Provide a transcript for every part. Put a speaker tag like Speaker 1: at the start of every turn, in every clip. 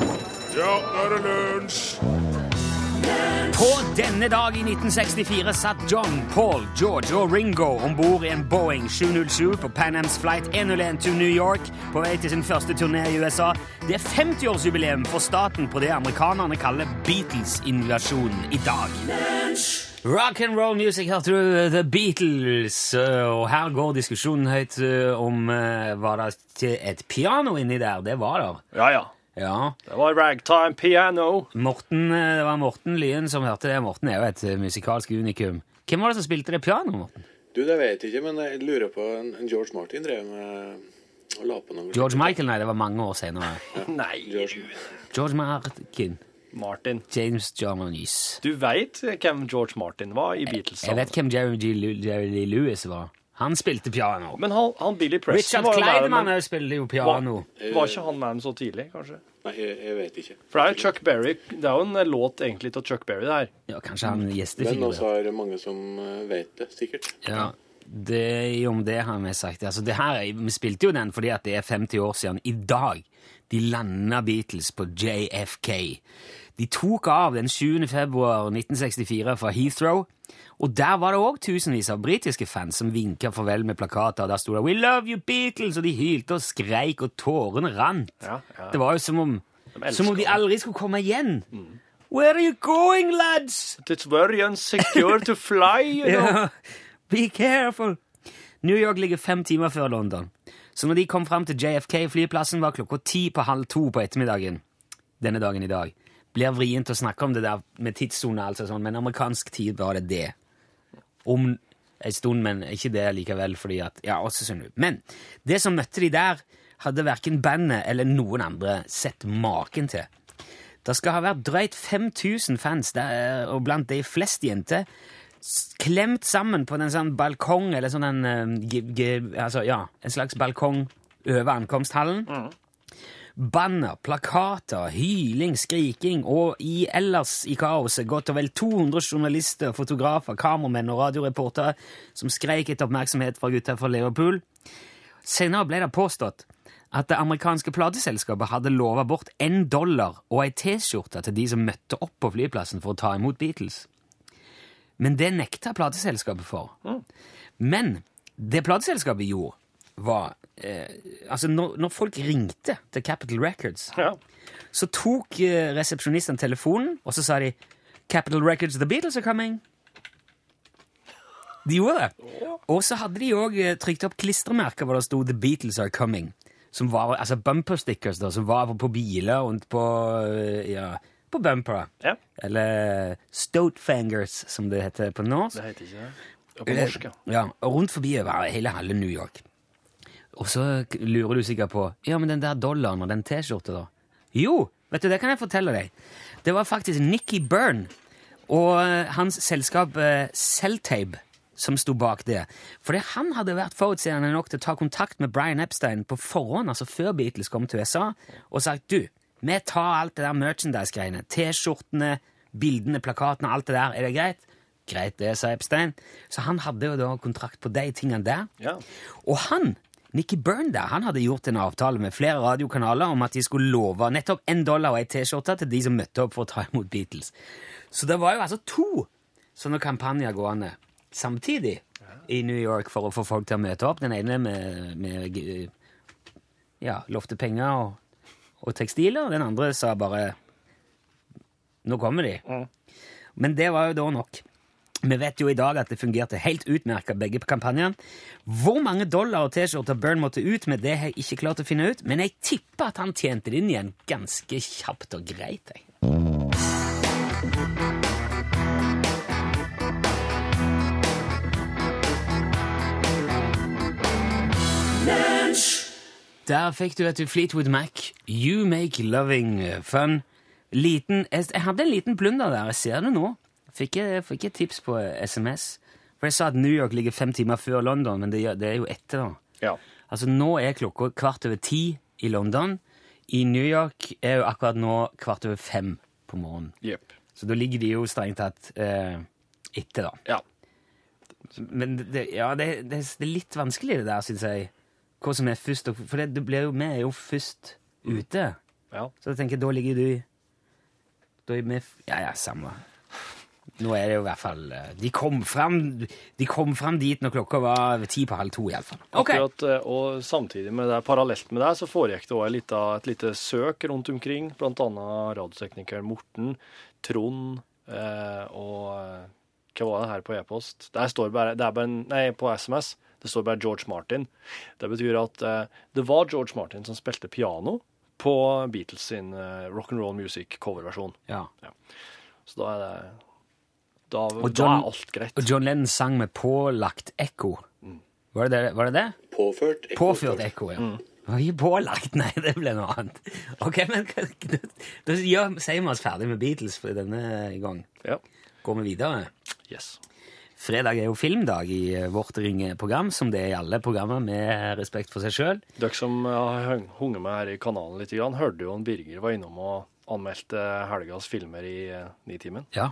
Speaker 1: Ja, nå er det lunsj!
Speaker 2: På denne dag i 1964 satt John, Paul, George og Ringo om bord i en Boeing 707 på Pan Am's Flight 101 to New York på vei til sin første turné i USA. Det er 50-årsjubileum for staten på det amerikanerne kaller Beatles-invasjonen i dag. Rock and roll music, hørte du eh, The Beatles. eh, Og her går diskusjonen høyt eh, om eh, Var det til et piano inni der? Det var det.
Speaker 3: Ja, ja.
Speaker 2: Ja.
Speaker 3: Det var ragtime piano.
Speaker 2: Morten, eh, det var Morten Lyen som hørte det. Morten er jo et eh, musikalsk unikum. Hvem var det som spilte det pianoet, Morten?
Speaker 4: Du, det vet jeg ikke, men jeg lurer på en, en George Martin drev med å la på noe.
Speaker 2: George Michael? Nei, det var mange år senere.
Speaker 3: Nei,
Speaker 4: George.
Speaker 2: George Martin.
Speaker 3: Martin.
Speaker 2: James Jarmonese.
Speaker 3: Du veit hvem George Martin var i Beatles?
Speaker 2: Jeg vet hvem Jerry, G. Lew- Jerry Lee Lewis var. Han spilte piano.
Speaker 3: Men han, han Billy Preston
Speaker 2: Richard
Speaker 3: var jo med
Speaker 2: Kleidemann
Speaker 3: dem.
Speaker 2: også spilte jo piano.
Speaker 3: Var ikke han med dem så tidlig, kanskje?
Speaker 4: Nei, jeg, jeg vet ikke.
Speaker 3: For det er jo Chuck Berry. Det er jo en låt egentlig til Chuck Berry, det her.
Speaker 2: Ja, kanskje han
Speaker 4: Men også
Speaker 2: gjestefigur.
Speaker 4: er det mange som eh, vet det, sikkert.
Speaker 2: Ja, det er om det har vi sagt. Altså, det her, er- vi spilte jo den fordi at det er 50 år siden i dag de landa Beatles på JFK. De tok av den 7. februar 1964 fra Heathrow, og der var det òg tusenvis av britiske fans som vinka farvel med plakater. Der sto det 'We love you, Beatles', og de hylte og skreik, og tårene rant.
Speaker 3: Ja, ja.
Speaker 2: Det var jo som om
Speaker 3: elsker
Speaker 2: som om de
Speaker 3: dem.
Speaker 2: aldri skulle komme igjen. Where are you going, lads?
Speaker 3: It's very unsecure to fly, you know.
Speaker 2: Ja. Be careful! New York ligger fem timer før London, så når de kom fram til JFK-flyplassen, var klokka ti på halv to på ettermiddagen denne dagen i dag. Blir vrient å snakke om det der med tidssone, altså sånn, men amerikansk tid var det det. Om en stund, men ikke det likevel, fordi at Ja, også synd. Men det som møtte de der, hadde verken bandet eller noen andre sett maken til. Det skal ha vært drøyt 5000 fans, der, og blant de flest jenter, s- klemt sammen på en sånn balkong, eller sånn en, eh, gi- gi- altså, ja, en slags balkong over ankomsthallen. Banner, plakater, hyling, skriking, og i ellers i kaoset godt og vel 200 journalister, fotografer, kameramenn og radioreportere som skreik etter oppmerksomhet fra gutta fra Liverpool. Senere ble det påstått at det amerikanske plateselskapet hadde lova bort én dollar og ei T-skjorte til de som møtte opp på flyplassen for å ta imot Beatles. Men det nekta plateselskapet for. Men det plateselskapet gjorde, var eh, Altså, når, når folk ringte til Capital Records,
Speaker 3: Ja.
Speaker 2: så tok eh, resepsjonisten telefonen, og så sa de Capital Records, The Beatles are coming. De gjorde det. Og så hadde de òg trykt opp klistremerker hvor det sto The Beatles are coming. Som var, altså bumper stickers da, som var på biler og på, eh, ja, på bumpere.
Speaker 3: Ja.
Speaker 2: Eller Stotefangers, som det heter på norsk. Eh,
Speaker 3: Det heter ikke det. Ja, På norsk, ja.
Speaker 2: Ja, og rundt forbi over hele halve New York. Og så k- lurer du sikkert på ja, men den der dollaren og den T-skjorta, da? Jo, vet du, det kan jeg fortelle deg. Det var faktisk Nikki Byrne og eh, hans selskap eh, Celltape som sto bak det. Fordi han hadde vært forutseende nok til å ta kontakt med Brian Epstein på forhånd, altså før Beatles kom til USA, og sagt du, vi tar alt det der merchandise-greiene. T-skjortene, bildene, plakatene, alt det der. Er det greit? Greit, det, sa Epstein. Så han hadde jo da kontrakt på de tingene der.
Speaker 3: Ja.
Speaker 2: Og han, Nicky Byrne der, han hadde gjort en avtale med flere radiokanaler om at de skulle love nettopp en dollar og ei T-skjorte til de som møtte opp for å ta imot Beatles. Så det var jo altså to sånne kampanjer gående samtidig i New York for å få folk til å møte opp. Den ene med, med eh, ja, lovte penger og, og tekstiler, og den andre sa bare Nå kommer de. Men det var jo da nok. Vi vet jo i dag at det fungerte helt utmerket begge kampanjene. Hvor mange dollar og T-skjorter Byrne måtte ut med, det har jeg ikke klart å finne ut, men jeg tipper at han tjente det inn igjen ganske kjapt og greit. Jeg. Der fikk du et Fleetwood Mac. You make loving fun. Liten, jeg jeg hadde en liten blunder der, jeg ser det nå. Fikk jeg, fikk jeg tips på SMS. For jeg sa at New York ligger fem timer før London, men det, gjør- det er jo etter da.
Speaker 3: ja.
Speaker 2: Altså nå er klokka kvart over ti i London. I New York er jo akkurat nå kvart over fem på morgenen.
Speaker 3: Jepp.
Speaker 2: Så da ligger de jo strengt tatt eh, etter da.
Speaker 3: Ja.
Speaker 2: Men det, ja, det, det, det er litt vanskelig det der, synes jeg. Hva som er først, og- for det, det blir jo, vi er jo først ute.
Speaker 3: ja.
Speaker 2: Så jeg tenker, da ligger du Skal vi med f- Ja, ja, samme. Nå er det jo i hvert fall eh, De kom fram, de kom fram dit når klokka var ti på halv to, iallfall. OK.
Speaker 5: Akkurat, eh, og samtidig med det, parallelt med det, så foregikk det òg et lite søk rundt omkring. Blant annet radioteknikeren Morten, Trond eh, og eh, Hva var det her på e-post? Der står bare, det er bare en, Nei, på SMS. Det står bare George Martin. Det betyr at eh, det var George Martin som spilte piano på Beatles sin eh, rock'n'roll music coverversjon.
Speaker 2: Ja.
Speaker 5: Så da er det Da,
Speaker 2: Og
Speaker 5: da
Speaker 2: John-
Speaker 5: er alt greit.
Speaker 2: Og John Lennon sang med pålagt ekko. Var det det? Var det, det?
Speaker 4: Påført ekko.
Speaker 2: Påført ekko, ja. Det var ikke pålagt, nei, det ble noe annet. Ok, men hva- da- da gjør- sier vi oss ferdig med Beatles for denne gang.
Speaker 5: Ja.
Speaker 2: Går vi videre?
Speaker 5: Yes.
Speaker 2: Fredag er jo filmdag i eh, vårt ringeprogram, som det er i alle programmer med respekt for seg sjøl.
Speaker 5: Dere som eh, har hung- hunget med her i kanalen litt, grann, hørte jo en Birger var innom og anmeldte helgas filmer i eh, Nitimen.
Speaker 2: Ja.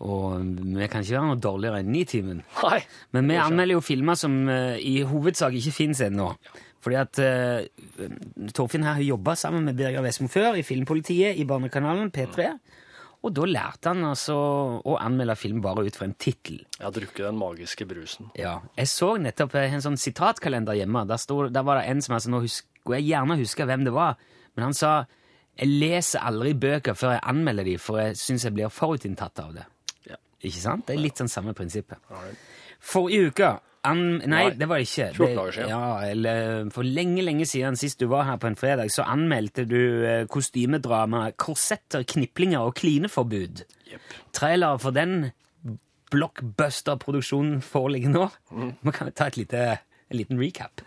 Speaker 2: Og vi kan ikke være noe dårligere enn Nitimen.
Speaker 5: Nei!
Speaker 2: Men vi anmelder jo filmer som eh, i hovedsak ikke finnes ennå. Fordi at eh, Torfinn her har jobba sammen med Birger Vestmo før i Filmpolitiet i Barnekanalen, P3. Og da lærte han altså å anmelde film bare ut fra en tittel.
Speaker 5: Jeg har drukket den magiske brusen.
Speaker 2: Ja. Jeg så nettopp eh, en sånn sitatkalender hjemme. Der, stod, der var det en som altså, nå husker jeg gjerne husker hvem det var, men han sa jeg leser aldri bøker før jeg anmelder de, for jeg syns jeg blir forutinntatt av det.
Speaker 5: Ja.
Speaker 2: Ikke sant? Det er litt sånn samme prinsippet. Forrige uke an, nei,
Speaker 5: Nei,
Speaker 2: det var det ikke.
Speaker 5: 14 dager siden.
Speaker 2: Ja, eller eh, For lenge, lenge siden, sist du var her på en fredag, så anmeldte du eh, kostymedramaet 'Korsetter, kniplinger og klineforbud'. Trailere for den blockbuster-produksjonen foreligger nå. Vi kan ta et lite, en liten recap.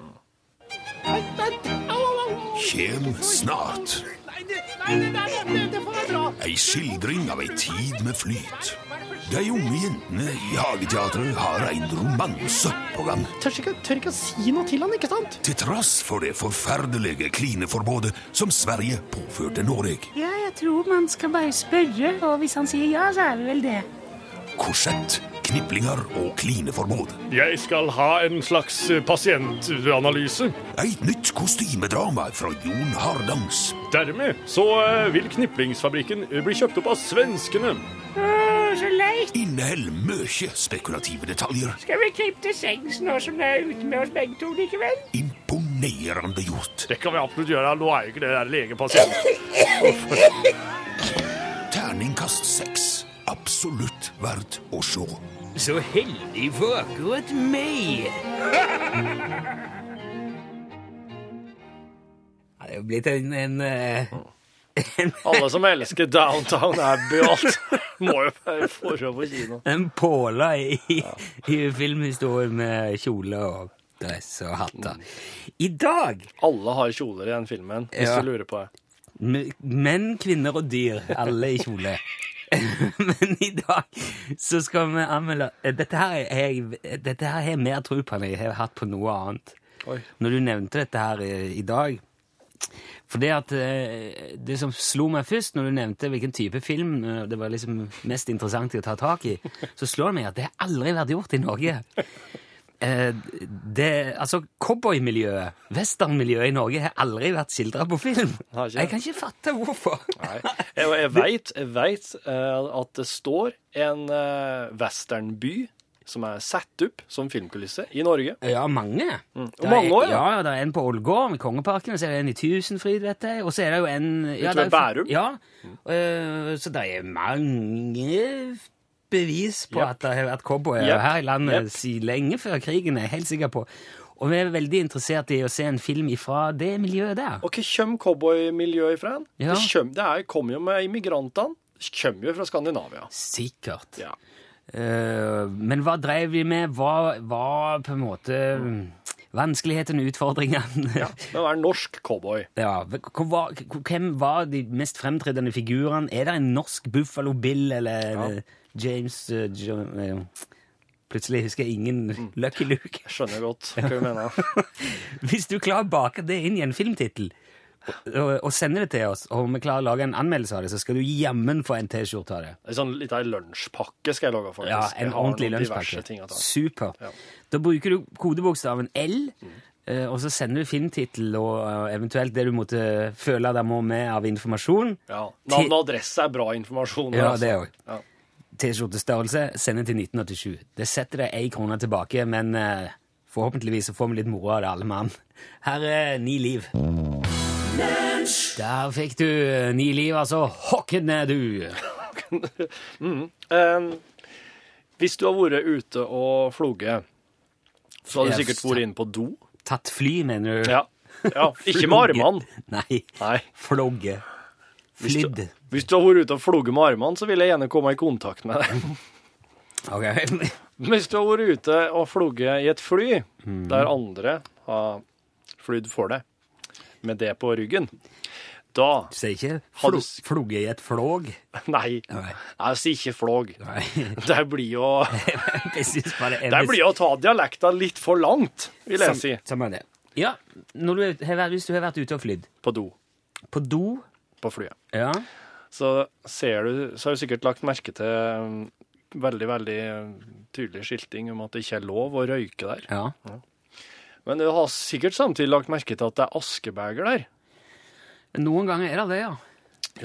Speaker 1: Kjem snart. Ei skildring av ei tid med flyt. De unge jentene i Hageteatret har en romanse på gang.
Speaker 6: Tør ikke, tør ikke å si noe til han, ikke sant?
Speaker 1: Til tross for det forferdelige klineforbudet som Sverige påførte Norge.
Speaker 7: Ja, jeg tror man skal bare spørre, og hvis han sier ja, så er vi vel det.
Speaker 1: Korsett, kniplinger og klineforbud.
Speaker 8: Jeg skal ha en slags eh, pasientanalyse.
Speaker 1: Eit nytt kostymedrama fra Jon Hardangs.
Speaker 8: Dermed så eh, vil kniplingsfabrikken eh, bli kjøpt opp av svenskene.
Speaker 7: Åh, så leit!
Speaker 1: Inneheld mye spekulative detaljer.
Speaker 7: Skal vi klippe til sengs nå som det er ute med oss begge to likevel?
Speaker 1: Imponerende gjort.
Speaker 8: Det kan vi absolutt gjøre. Nå er jo ikke det der legepasient.
Speaker 1: Terningkast seks. Absolutt verdt å se.
Speaker 2: Så heldig for akkurat meg! Ja, det er jo blitt en, en eh,
Speaker 5: Alle som elsker Downtown Abbey og alt, må jo bare få se på kino.
Speaker 2: En påle i, i filmhistorien med kjole og dress og hatter. I dag
Speaker 5: Alle har kjoler i den filmen, hvis
Speaker 2: Ja.
Speaker 5: du lurer på det.
Speaker 2: m- Menn, kvinner og dyr, alle i kjole. Men i dag så skal vi anmelde Dette her er jeg- dette her har jeg mer tro på enn jeg har hatt på noe annet.
Speaker 5: Oi.
Speaker 2: Når du nevnte dette her i, i dag For det at eh, Det som slo meg først, når du nevnte hvilken type film eh, det var liksom mest interessant i å ta tak i, så slår det meg at det har aldri vært gjort i Norge. Eh, det, altså, Cowboymiljøet, westernmiljøet i Norge, har aldri vært skildra på film.
Speaker 5: Har ikke det?
Speaker 2: Jeg kan ikke fatte hvorfor.
Speaker 5: Nei. Jeg, jeg veit jeg vet, eh, at det står en eh, westernby som er satt opp som filmkulisse i Norge.
Speaker 2: Ja, mange. Mm.
Speaker 5: mange
Speaker 2: ja.
Speaker 5: også, ja.
Speaker 2: ja. Det er en på Ålgård, i Kongeparken, og så er det en i Tusenfryd, vet jeg. Og så er det jo en ja,
Speaker 5: ved
Speaker 2: det er jo-
Speaker 5: Bærum?
Speaker 2: Ja. Eh, så det er mange bevis på
Speaker 5: Yep.
Speaker 2: at det har vært cowboyer
Speaker 5: Yep.
Speaker 2: her i landet
Speaker 5: Yep.
Speaker 2: si- lenge før krigen, er jeg helt sikker på. Og vi er veldig interessert i å se en film ifra det miljøet der.
Speaker 5: Og hva kommer cowboymiljøet ifra?
Speaker 2: Ja.
Speaker 5: Det, kjøm, det er, kom jo med immigrantene. Det kommer jo fra Skandinavia.
Speaker 2: Sikkert.
Speaker 5: Ja.
Speaker 2: Eh, men hva drev vi med? Hva var på en måte mm, vanskeligheten, utfordringene?
Speaker 5: Men hva er norsk cowboy?
Speaker 2: Ja, hva var- Hvem var de mest fremtredende figurene? Er det en norsk Buffalo Bill eller eh, James eh, Jo- eh, Plutselig husker jeg ingen Lucky Luke.
Speaker 5: Jeg skjønner godt hva du mener.
Speaker 2: Hvis du klarer å bake det inn i en filmtittel og, og sende det til oss, og vi klarer å lage en anmeldelse av det, så skal du jammen få en T-skjorte av det.
Speaker 5: En sånn liten lunsjpakke skal jeg lage, faktisk.
Speaker 2: Ja,
Speaker 5: Jeg
Speaker 2: en
Speaker 5: har
Speaker 2: ordentlig
Speaker 5: noen diverse
Speaker 2: lunsjpakke.
Speaker 5: ting å ta.
Speaker 2: Super.
Speaker 5: Ja. Mm.
Speaker 2: Da bruker du kodebokstaven L eh, og så sender du filmtittel og eh, eventuelt det du måtte føle deg må med av informasjon.
Speaker 5: Ja. Navn og adresse er bra informasjon.
Speaker 2: Ja,
Speaker 5: altså.
Speaker 2: det òg.
Speaker 5: Ja.
Speaker 2: T-skjortestørrelse sender til 1987. Det setter deg ei krone tilbake, men eh, forhåpentligvis så får vi litt moro av det, alle mann. Her er Ni liv. Der fikk du eh, Ni liv, altså. Hokkene, du!
Speaker 5: Eh, hvis du har vært ute og floget, så har du
Speaker 2: Yes.
Speaker 5: sikkert vært inne på do.
Speaker 2: Tatt fly, mener du?
Speaker 5: Ja. ja. Ikke med armene.
Speaker 2: Nei.
Speaker 5: Nei.
Speaker 2: Flogge.
Speaker 5: Hvis du,
Speaker 2: Flydd.
Speaker 5: hvis du har vært ute og floget med armene, så vil jeg gjerne komme i kontakt med deg.
Speaker 2: Ok.
Speaker 5: Men Hvis du har vært ute og floget i et fly,
Speaker 2: Mm.
Speaker 5: der andre har flydd for deg, med det på ryggen, da
Speaker 2: Du sier ikke
Speaker 5: Har du
Speaker 2: flo
Speaker 5: s-
Speaker 2: flogge i et flog?
Speaker 5: Nei,
Speaker 2: Nei.
Speaker 5: jeg sier ikke flog.
Speaker 2: Nei.
Speaker 5: Det blir jo,
Speaker 2: Jeg synes bare
Speaker 5: det blir jo å ta dialekta litt for langt, vil jeg si.
Speaker 2: Samme det. Ja, når du har vært, hvis du har vært ute og flydd.
Speaker 5: På do.
Speaker 2: På do.
Speaker 5: På flyet.
Speaker 2: Ja.
Speaker 5: så ser du, så har du sikkert lagt merke til mm, veldig, veldig mm, tydelig skilting om at det ikke er lov å røyke der.
Speaker 2: ja.
Speaker 5: Men du har sikkert samtidig lagt merke til at det er askebeger der.
Speaker 2: Noen ganger er det det, ja.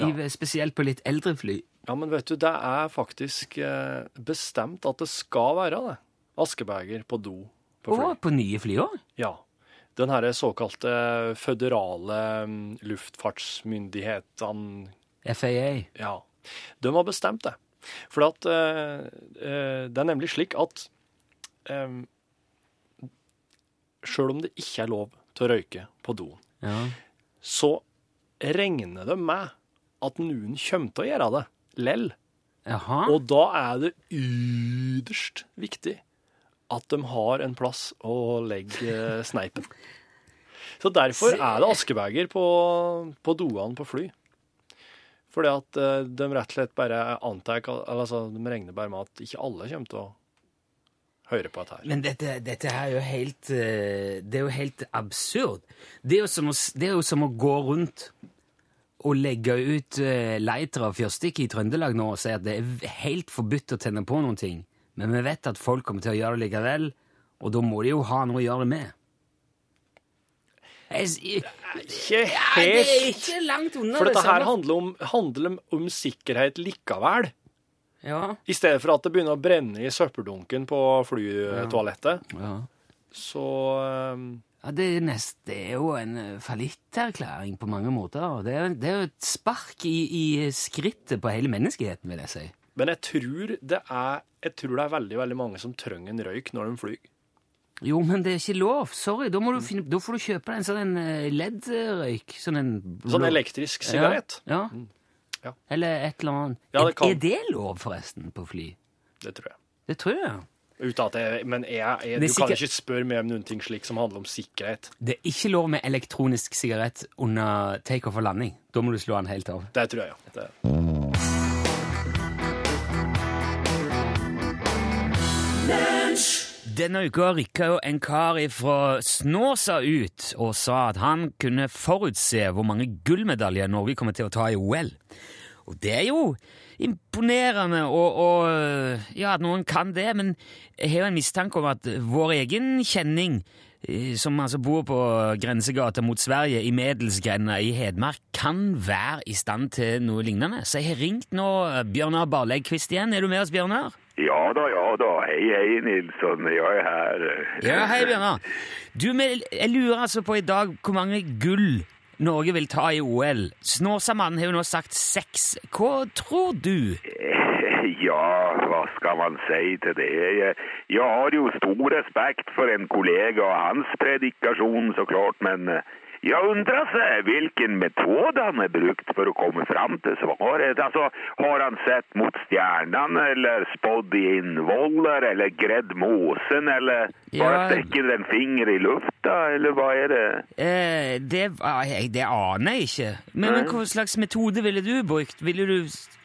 Speaker 2: I, spesielt på litt eldre fly.
Speaker 5: Ja, men vet du, det er faktisk eh, bestemt at det skal være det. Askebeger på do på fly.
Speaker 2: Og på nye fly òg.
Speaker 5: Ja. Den her såkalte føderale mm, luftfartsmyndighetene
Speaker 2: FAA.
Speaker 5: Ja, de har bestemt det. For at, eh, eh, det er nemlig slik at um, selv om det ikke er lov til å røyke på doen,
Speaker 2: Ja.
Speaker 5: så regner det med at noen kommer til å gjøre det lell.
Speaker 2: Jaha.
Speaker 5: Og da er det yderst viktig at de har en plass å legge eh, sneipen. Så derfor er det askebeger på, på doene på fly. Fordi at eh, de rett og slett bare antar eller altså, De regner bare med at ikke alle kommer til å høre på dette her.
Speaker 2: Men dette, dette her er jo helt eh, Det er jo helt absurd. Det er jo som å, s- det er jo som å gå rundt og legge ut eh, lightere og fyrstikker i Trøndelag nå og si at det er v- helt forbudt å tenne på noen ting. Men vi vet at folk kommer til å gjøre det likevel, og da må de jo ha noe å gjøre det med. Jeg, s- i-
Speaker 5: Ikke
Speaker 2: Nei, det er
Speaker 5: helt!
Speaker 2: ikke langt unna.
Speaker 5: For dette her
Speaker 2: samme.
Speaker 5: handler om, handler om sikkerhet likevel.
Speaker 2: ja.
Speaker 5: I stedet for at det begynner å brenne i søppeldunken på flytoalettet,
Speaker 2: Ja.
Speaker 5: så eh,
Speaker 2: Ja, det, er nest, det er jo en eh, fallitterklæring på mange måter. og Det er, det er jo et spark i, i skrittet på hele menneskeheten, vil jeg si.
Speaker 5: Men jeg tror det er, jeg tror det er veldig, veldig mange som trenger en røyk når de flyr.
Speaker 2: Jo, men det er ikke lov. Sorry. Da, må du finne, da får du kjøpe deg en sånn en eh, LED-røyk. Sånn en
Speaker 5: Sånn elektrisk sigarett.
Speaker 2: Ja.
Speaker 5: Ja.
Speaker 2: ja. Eller et eller annet.
Speaker 5: Ja, det kan.
Speaker 2: Er, er det lov, forresten, på fly?
Speaker 5: Det tror jeg.
Speaker 2: Det tror jeg.
Speaker 5: Uten at jeg, men jeg,
Speaker 2: Det
Speaker 5: jeg,
Speaker 2: er
Speaker 5: du kan
Speaker 2: sikkert-
Speaker 5: ikke spørre meg om noen ting slik som handler om sikkerhet.
Speaker 2: Det er ikke lov med elektronisk sigarett under takeoff og landing. Da må du slå den helt av.
Speaker 5: Det tror jeg, ja. Det.
Speaker 2: Denne uka rykka jo en kar ifra Snåsa ut og sa at han kunne forutse hvor mange gullmedaljer Norge kommer til å ta i OL. Og det er jo imponerende og, og ja, at noen kan det, men jeg har jo en mistanke om at vår egen kjenning, eh, som altså bor på grensegata mot Sverige, i Medelsgrenda i Hedmark, kan være i stand til noe lignende. Så jeg har ringt nå eh, Bjørnar Barlegkvist igjen. Er du med oss, Bjørnar?
Speaker 9: Ja da, ja da. Hei, hei, Nilsson. Jeg er her.
Speaker 2: Ja, eh, hei Bjørnar. Du, men jeg lurer altså på i dag hvor mange gull Norge vil ta i OL. Snåsamannen har jo nå sagt seks. Hva tror du?
Speaker 9: Ja, hva skal man si til det? Jeg, jeg har jo stor respekt for en kollega og hans predikasjon, så klart, men eh, jeg undrer seg hvilken metode han har brukt for å komme fram til svaret. Altså, har han sett mot stjernene, eller spådd i innvoller, eller gredd måsen, eller bare
Speaker 2: Ja.
Speaker 9: stikker en finger i lufta, eller hva er det?
Speaker 2: Eh, det, ah, jeg- det aner jeg ikke. Men, men hva slags metode ville du brukt? Ville du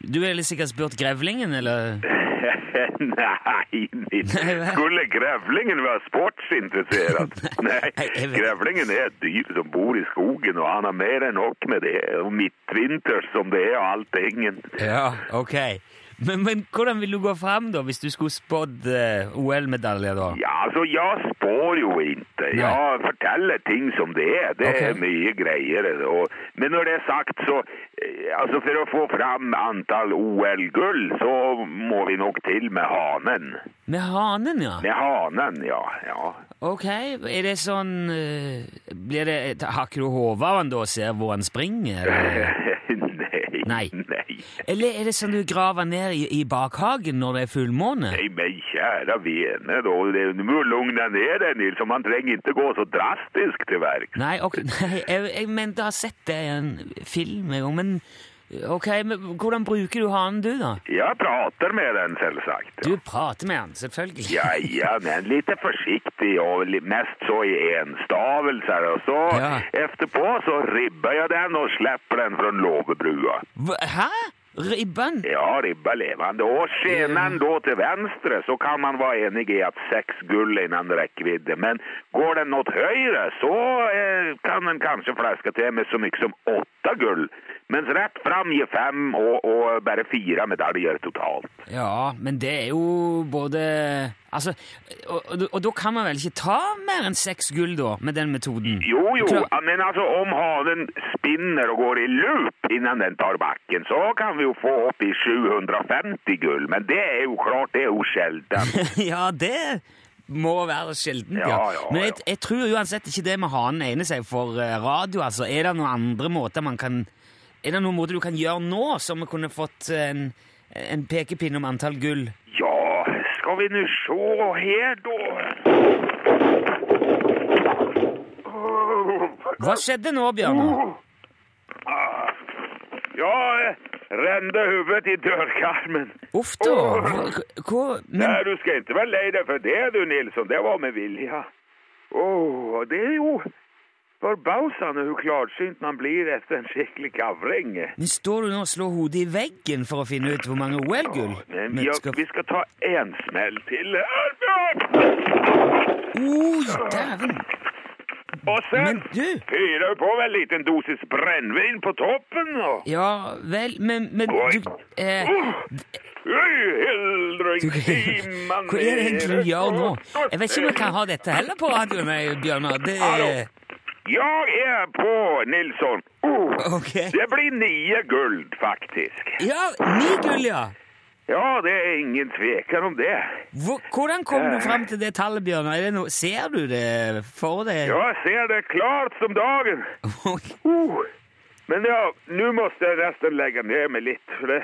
Speaker 2: Du ville sikkert spurt grevlingen, eller?
Speaker 9: Nei, Nils. Skulle grevlingen være sportsinteressert? Nei,
Speaker 2: Nei, jeg vet-
Speaker 9: grevlingen er et dyr som bor i skogen, og han har mer enn nok med det. Og midtvinters som det er, og alltingen.
Speaker 2: Ja, ok. Men, men hvordan vil du gå fram da, hvis du skulle spådd eh, OL-medalje da?
Speaker 9: Ja, altså, jeg spår jo ikke. Jeg forteller ting som det er. Det er
Speaker 2: Ok.
Speaker 9: mye greiere. Og, men når det er sagt, så eh, Altså, for å få fram antall OL-gull, så må vi nok til med hanen.
Speaker 2: Med hanen, ja.
Speaker 9: Med hanen, ja. ja.
Speaker 2: Ok, er det sånn eh, Blir det Hakker du hodet av han da og ser hvor han springer? Eller,
Speaker 9: nei,
Speaker 2: Nei.
Speaker 9: nei.
Speaker 2: eller er det sånn du graver ned i, i bakhagen når det er fullmåne?
Speaker 9: Nei, men kjære vene, da. Det- Du må lugne deg ned, deg, Nils. og Man trenger ikke gå så drastisk til verks.
Speaker 2: Nei, ok, nei jeg, jeg mente jeg har sett det i en film en gang, men ok, men hvordan bruker du hanen du, da?
Speaker 9: Jeg prater med den, selvsagt.
Speaker 2: Du prater med han, selvfølgelig.
Speaker 9: Ja, ja, men litt forsiktig, og li- mest så i enstavelser. Og så
Speaker 2: Ja.
Speaker 9: etterpå så ribber jeg den og slipper den fra låvebrua.
Speaker 2: Hva- Hæ? Ribben?
Speaker 9: Ja, ribba levende. Og skjener den da til venstre, så kan man være enig i at seks gull innen rekkevidde. Men går den mot høyre, så eh, kan den kanskje flaske til med så mye som åtte gull. Mens rett fram gir fem, og, og bare fire medaljer totalt.
Speaker 2: Ja, men det er jo både Altså, og, og, og da kan man vel ikke ta mer enn seks gull, da, med den metoden?
Speaker 9: Jo, jo,
Speaker 2: Klar-
Speaker 9: men altså om hanen spinner og går i loop innan den tar bakken, så kan vi jo få opp i 750 gull. Men det er jo klart, det er jo sjelden.
Speaker 2: ja, det må være sjeldent, ja.
Speaker 9: Ja, ja,
Speaker 2: Men jeg,
Speaker 9: ja.
Speaker 2: jeg tror uansett ikke det med hanen egner seg for eh, radio, altså. Er det noen andre måter man kan Er det noen måter du kan gjøre nå, som vi kunne fått en, en pekepinn om antall gull?
Speaker 9: Ja, skal vi nå se her, da.
Speaker 2: Hva skjedde nå, Bjørnar?
Speaker 9: Ja, eh, rende hodet i dørkarmen.
Speaker 2: Uff da. Hva, hva
Speaker 9: Nei,
Speaker 2: Men
Speaker 9: du skal ikke være lei deg for det, du, Nilsson. Det var med vilje. Åh, og det er jo forbausende hvor klarsynt man blir etter en skikkelig kavring.
Speaker 2: men står du nå og slår hodet i veggen for å finne ut hvor mange OL-gull?
Speaker 9: Men
Speaker 2: vi
Speaker 9: ja,
Speaker 2: skal-
Speaker 9: vi skal ta en smell til.
Speaker 2: Oi, dæven!
Speaker 9: Og
Speaker 2: Men
Speaker 9: sen
Speaker 2: du
Speaker 9: fyrer vi på med en liten dosis brennevin på toppen. Og...
Speaker 2: Ja vel, men, men du eh,
Speaker 9: Øy, hildring,
Speaker 2: du- Hva er det egentlig du gjør nå? Jeg vet ikke om jeg kan ha eh, dette heller på radioen, jeg, Bjørnar. Det er
Speaker 9: Jeg er på, Nilsson. Oh,
Speaker 2: Ok.
Speaker 9: Det blir nye guld, faktisk.
Speaker 2: Ja, ni gull, ja!
Speaker 9: Ja, det er ingen tveker om det.
Speaker 2: Hvor, hvordan kom du fram til det tallet, Bjørnar? Er det noe- Ser du det for deg?
Speaker 9: Jeg ser det klart som dagen. Uh. Men ja, nå måtte jeg resten legge ned meg litt, for det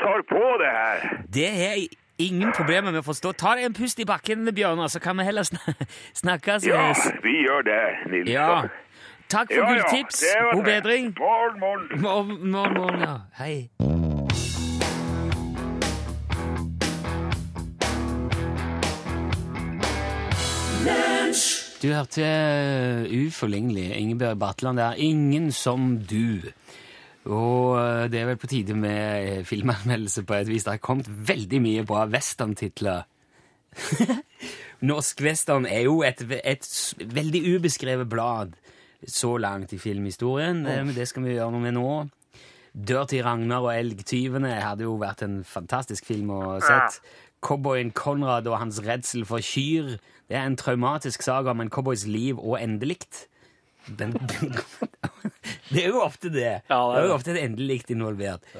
Speaker 9: tar på det her.
Speaker 2: Det har jeg ingen problemer med å forstå. Ta deg en pust i bakken, Bjørnar, så kan vi heller snak snakkes.
Speaker 9: Ja, vi gjør det, Nilsson.
Speaker 2: ja. Takk for gulltips.
Speaker 9: det var
Speaker 2: God
Speaker 9: det.
Speaker 2: bedring.
Speaker 9: Morgen, morgen.
Speaker 2: Morgen, morgen, morgen, ja. Hei. Du hørte eh, uforlignelig Ingebjørg Batland der. Ingen som du. Og eh, det er vel på tide med eh, filmanmeldelse på et vis. Det har kommet veldig mye bra westerntitler. Norsk western er jo et, et s- veldig ubeskrevet blad så langt i filmhistorien. Eh, men Det skal vi gjøre noe med nå. Dør til Ragnar og Elgtyvene hadde jo vært en fantastisk film å sett. Cowboyen Konrad og hans redsel for kyr. Det er en traumatisk saga om en cowboys liv og endelikt. Den, det er jo ofte det.
Speaker 3: Ja, det er
Speaker 2: det er jo
Speaker 3: det.
Speaker 2: ofte et endelikt involvert.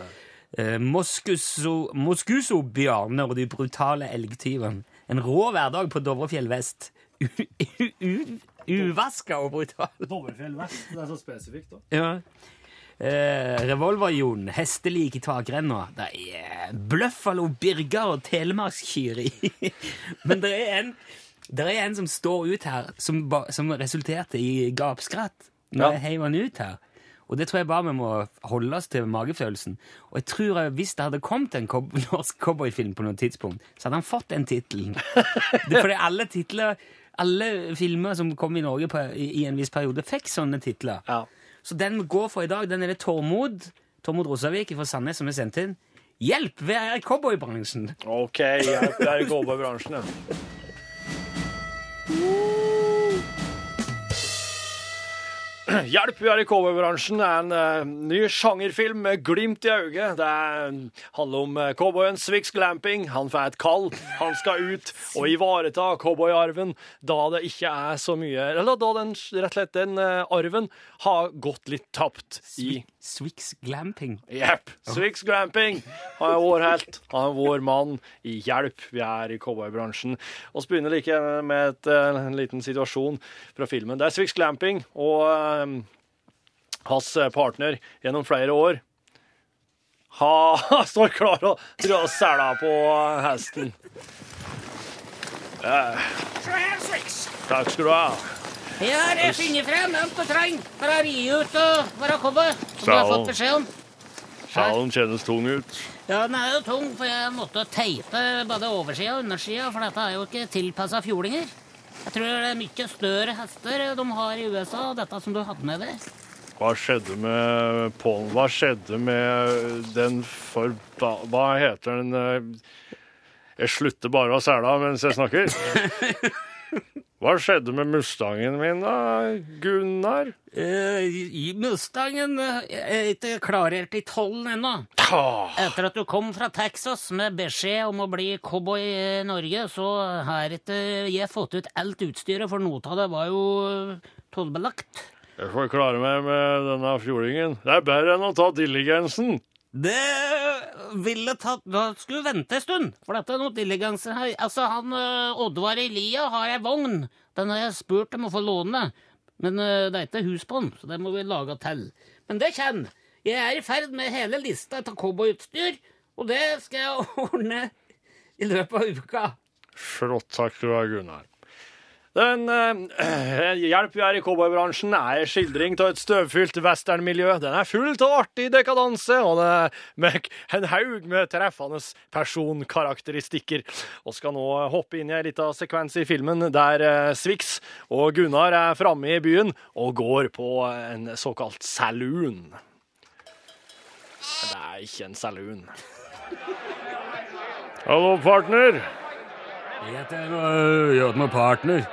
Speaker 2: Eh, Moskuso, Moskuso Bjarne og de brutale elgtyvene. En rå hverdag på Dovrefjell vest. U- u- u- Uvaska og brutal.
Speaker 5: Dovrefjell vest, det er så spesifikt, da.
Speaker 2: Ja. Eh, Revolver-Jon, hestelik i takrenna. Det er Bløffalo, Birger og Telemarkskyr i. Men det er, en, det er en som står ut her, som, ba, som resulterte i gapskratt når
Speaker 3: Ja.
Speaker 2: jeg heiv han ut her. Og det tror jeg bare vi må holde oss til magefølelsen. Og jeg tror at hvis det hadde kommet en cow- norsk cowboyfilm på noe tidspunkt, så hadde han fått den tittelen. Det er fordi alle titler, alle filmer som kom i Norge på, i, i en viss periode, fikk sånne titler.
Speaker 3: Ja.
Speaker 2: Så den vi går for i dag, den er det Tormod Tormod Rosavik fra Sandnes som er sendt inn. Hjelp! Vi er i cowboybransjen!
Speaker 3: OK, jeg pleier å gå over i bransjen, jeg.
Speaker 5: Hjelp, vi er i cowboybransjen. Det er en eh, ny sjangerfilm med glimt i øyet. Det er, handler om eh, cowboyen Swix Glamping. Han får et kall. Han skal ut og ivareta cowboyarven da det ikke er så mye Eller da den, rett og slett, den eh, arven har gått litt tapt i
Speaker 9: Swix glamping.
Speaker 5: Jepp. Swix Glamping. Han er vår helt. Han er vår mann. I hjelp, vi er i cowboybransjen. Vi begynner like gjerne med et, eh, en liten situasjon fra filmen. Det er Swix Glamping og eh, hans partner gjennom flere år ha, står klar og drar sela på hesten. Eh.
Speaker 2: Se her, Swix.
Speaker 5: Takk skal du ha.
Speaker 2: Jeg har eh, funnet frem alt og trang for å ri ut og for å komme. Som jeg har
Speaker 10: Salen.
Speaker 2: fått beskjed om.
Speaker 10: Salen kjennes tung ut.
Speaker 2: Ja, Den er jo tung, for jeg måtte teipe både oversida og undersida, for dette er jo ikke tilpassa fjolinger. Jeg tror det er mye større hester de har i USA, dette som du hadde med deg.
Speaker 10: Hva skjedde med Paul? Hva skjedde med den forba... Hva heter den eh, Jeg slutter bare å sela mens jeg snakker. Hva skjedde med mustangen min, da, Gunnar?
Speaker 2: Eh,
Speaker 9: I Mustangen eh, er ikke klarert i tollen ennå.
Speaker 2: Etter at du kom fra Texas med beskjed om å bli cowboy i Norge, så har ikke jeg fått ut alt utstyret, for noe av det var jo tollbelagt.
Speaker 10: Jeg får klare meg med denne fjordingen. Det er bedre enn å ta diligensen.
Speaker 2: Det ville tatt Da skulle vi vente en stund, for dette er noe diligenser her. Altså, han ø, Oddvar Elia har ei vogn. Den har jeg spurt om å få låne, men ø, det er ikke hus på den, så det må vi lage til. Men det kommer. Jeg er i ferd med hele lista av cowboyutstyr, og det skal jeg ordne i løpet av uka.
Speaker 10: Flott, takk skal du ha, Gunnar.
Speaker 5: Den eh, Hjelp, vi er i cowboybransjen er en skildring av et støvfylt westernmiljø. Den er full av artig dekadanse, og det er med en haug med treffende personkarakteristikker. Og skal nå hoppe inn i en liten sekvens i filmen der eh, Swix og Gunnar er framme i byen og går på en såkalt saloon. Det er ikke en saloon.
Speaker 10: Hallo, partner.
Speaker 9: Jeg heter Jodmo Partner.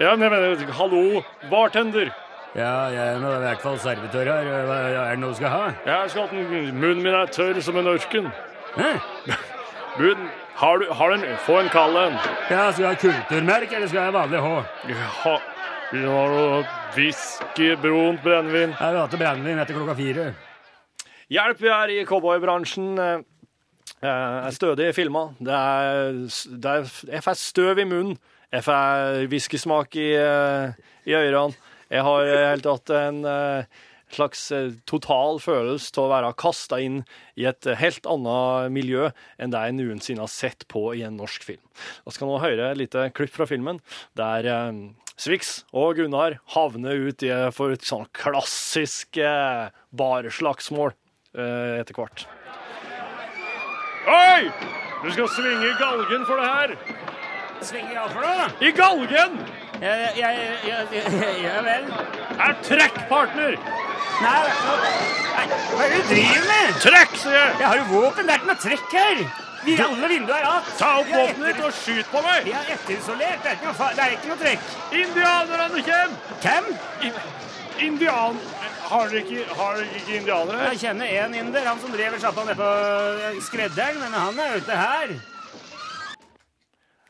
Speaker 10: Ja, men jeg mener, hallo, bartender.
Speaker 9: Ja, jeg er nå i hvert fall servitør her. Hva er det noe du skal ha?
Speaker 10: Jeg skal ha den, munnen min er tørr som en ørken.
Speaker 9: Hæ?
Speaker 10: Bud, har du, har du en, få en kald en.
Speaker 9: Ja, Skal jeg ha kulturmerk, eller skal jeg ha vanlig H?
Speaker 10: Ja, vi har noe whisky, brunt brennevin.
Speaker 9: Jeg vil ha til brennevin etter klokka fire.
Speaker 5: Hjelp, vi er i cowboybransjen. eh, eh, er stødig filma. Det er, det er, jeg får støv i munnen. Jeg får whiskysmak i, eh, i ørene. Jeg har eh, helt hatt en eh, slags eh, total følelse av å være kasta inn i et eh, helt annet miljø enn det jeg noensinne har sett på i en norsk film. Vi skal nå høre et lite klipp fra filmen der eh, Swix og Gunnar havner ut i eh, for et sånn klassisk eh, barslagsmål eh, etter hvert.
Speaker 10: Oi! Du skal svinge i galgen for det her.
Speaker 9: Svinger jeg av for noe?
Speaker 10: I galgen
Speaker 9: Jeg, jeg, jeg, jeg, ja vel.
Speaker 10: er trekkpartner.
Speaker 9: Nei, nei, hva er det du driver med?
Speaker 10: Trekk, sier jeg.
Speaker 9: Jeg har jo våpen. Det er ikke noe trekk her. Vi alle vinduer er att.
Speaker 10: Ta opp våpenet ditt og skyt på meg.
Speaker 9: Vi er etterisolert. Det er ikke noe, fa- det er ikke noe trekk.
Speaker 10: Indianerne kommer.
Speaker 9: Hvem?
Speaker 10: I- Indian... Har dere ikke, har dere ikke indianere?
Speaker 9: Jeg kjenner én inder, han som driver sjappa nede på eh, skredderen, men han er ute her.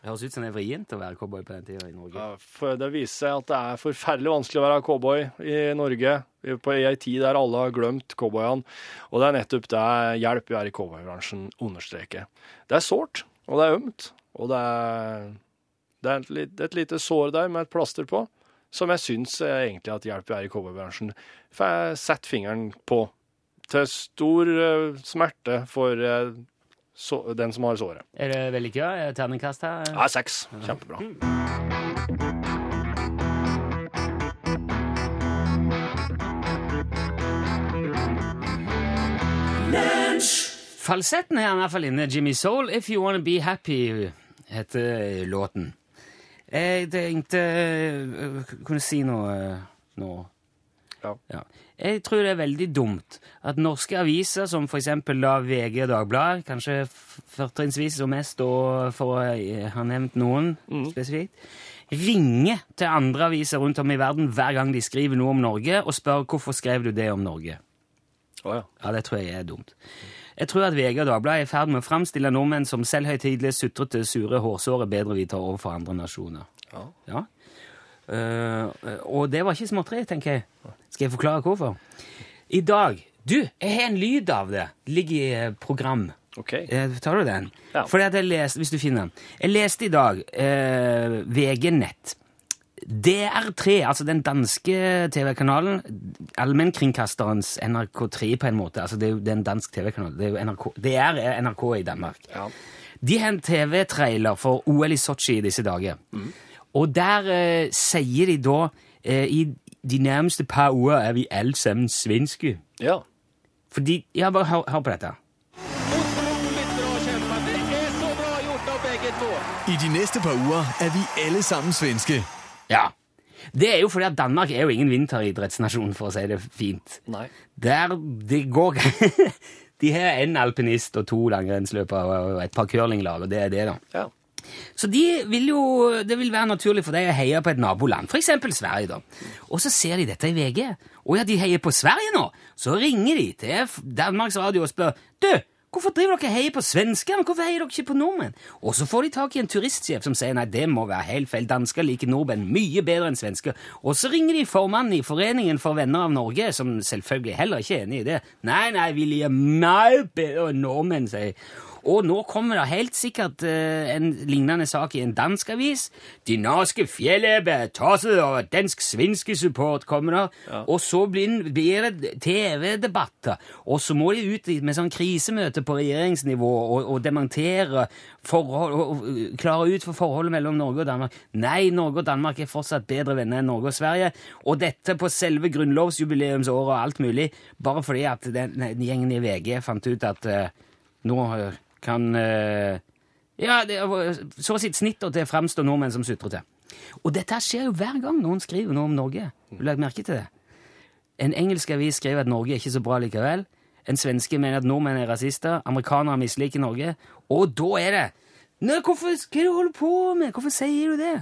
Speaker 9: Det høres ut som det er vrient å være cowboy på den tida i Norge.
Speaker 5: Ja, For det viser seg at det er forferdelig vanskelig å være cowboy i Norge i- på ei tid der alle har glemt cowboyene. Og det er nettopp det hjelp vi er i cowboybransjen understreker. Det er sårt, og det er ømt, og det er, det er et, lit- et lite sår der med et plaster på, som jeg syns eh, egentlig at hjelp vi er i cowboybransjen får sette fingeren på. Til stor eh, smerte for eh, så, den som har såret.
Speaker 9: Er det vellykka? Er det Terningkast her?
Speaker 5: Det er seks. Kjempebra.
Speaker 3: Mm.
Speaker 9: Falsetten er i hvert fall inne. Jimmy Soul, If You Wanna Be Happy,
Speaker 2: eh,
Speaker 9: heter låten.
Speaker 2: eh,
Speaker 9: Jeg tenkte jeg kunne si noe nå.
Speaker 3: Ja.
Speaker 2: Ja. Jeg tror det er veldig dumt at norske aviser, som for eksempel da VG og Dagbladet, kanskje f- fortrinnsvis og mest, og for å eh, ha nevnt noen spesifikt, ringer til andre aviser rundt om i verden hver gang de skriver noe om Norge, og spør hvorfor skrev du det om Norge.
Speaker 3: Å ja.
Speaker 2: Ja, det tror jeg er dumt. Jeg tror at VG og Dagbladet er i ferd med å framstille nordmenn som selvhøytidelige, sutrete, sure, hårsåre bedrevitere overfor andre nasjoner.
Speaker 3: Ja.
Speaker 2: Eh, og det var ikke småtteri, tenker jeg. Skal jeg forklare hvorfor? I dag Du, jeg har en lyd av det. Det ligger i eh, program.
Speaker 3: OK.
Speaker 2: Eh, tar du den?
Speaker 3: Ja.
Speaker 2: Fordi at jeg leste, hvis du finner den. Jeg leste i dag eh, VG Nett. DR3, altså den danske TV-kanalen, allmennkringkasterens NRK3 på en måte, altså det er jo det er en dansk TV-kanal, det er jo NRK, DR er NRK i Danmark. De har en TV-trailer for OL i Sochi i disse dager. Og der eh, sier de da, eh, i de nærmeste par uger er vi alle sammen svenske.
Speaker 3: Ja.
Speaker 2: Fordi, ja, bare hør, hør på dette.
Speaker 11: I de næste par uger er vi alle sammen svenske.
Speaker 2: Ja. Det er jo fordi at Danmark er jo ingen vinteridrettsnasjon, for å si det fint.
Speaker 3: Nei.
Speaker 2: Der det går De har én alpinist og to langrennsløpere og et par curlinglag, og det er det, da.
Speaker 3: Ja.
Speaker 2: Så de vil jo, det vil være naturlig for deg å heie på et naboland, for eksempel Sverige. da. Og så ser de dette i VG. Å ja, de heier på Sverige nå! Så ringer de til F- Danmarks Radio og spør Du, hvorfor driver dere og heier på svenskene? Hvorfor heier dere ikke på nordmenn? Og så får de tak i en turistsjef som sier nei, det må være helt feil, dansker liker nordmenn mye bedre enn svensker. Og så ringer de formannen i Foreningen for venner av Norge, som selvfølgelig heller ikke er enig i det. Nei, nei, vi liker mye bedre enn nordmenn, sier de. Og nå kommer det helt sikkert eh, en lignende sak i en dansk avis. De norske fjellet ble tosset over dansk-svenske support, kommer det. Og så blir, blir det TV-debatter. Og så må de ut i- med sånn krisemøte på regjeringsnivå og, og dementere forhold, og, og klare ut for forholdet mellom Norge og Danmark. Nei, Norge og Danmark er fortsatt bedre venner enn Norge og Sverige. Og dette på selve grunnlovsjubileumsåret og alt mulig, bare fordi at den, den gjengen i VG fant ut at eh, nå eh, kan eh, Ja, det, så sitt snitt og det framstår nordmenn som sutrete. Og dette her skjer jo hver gang noen skriver noe om Norge. Du legger merke til det. En engelsk avis skriver at Norge er ikke så bra likevel. En svenske mener at nordmenn er rasister. Amerikanere misliker Norge. Og da er det Nei, hvorfor, hva er det du holder på med? Hvorfor sier du det?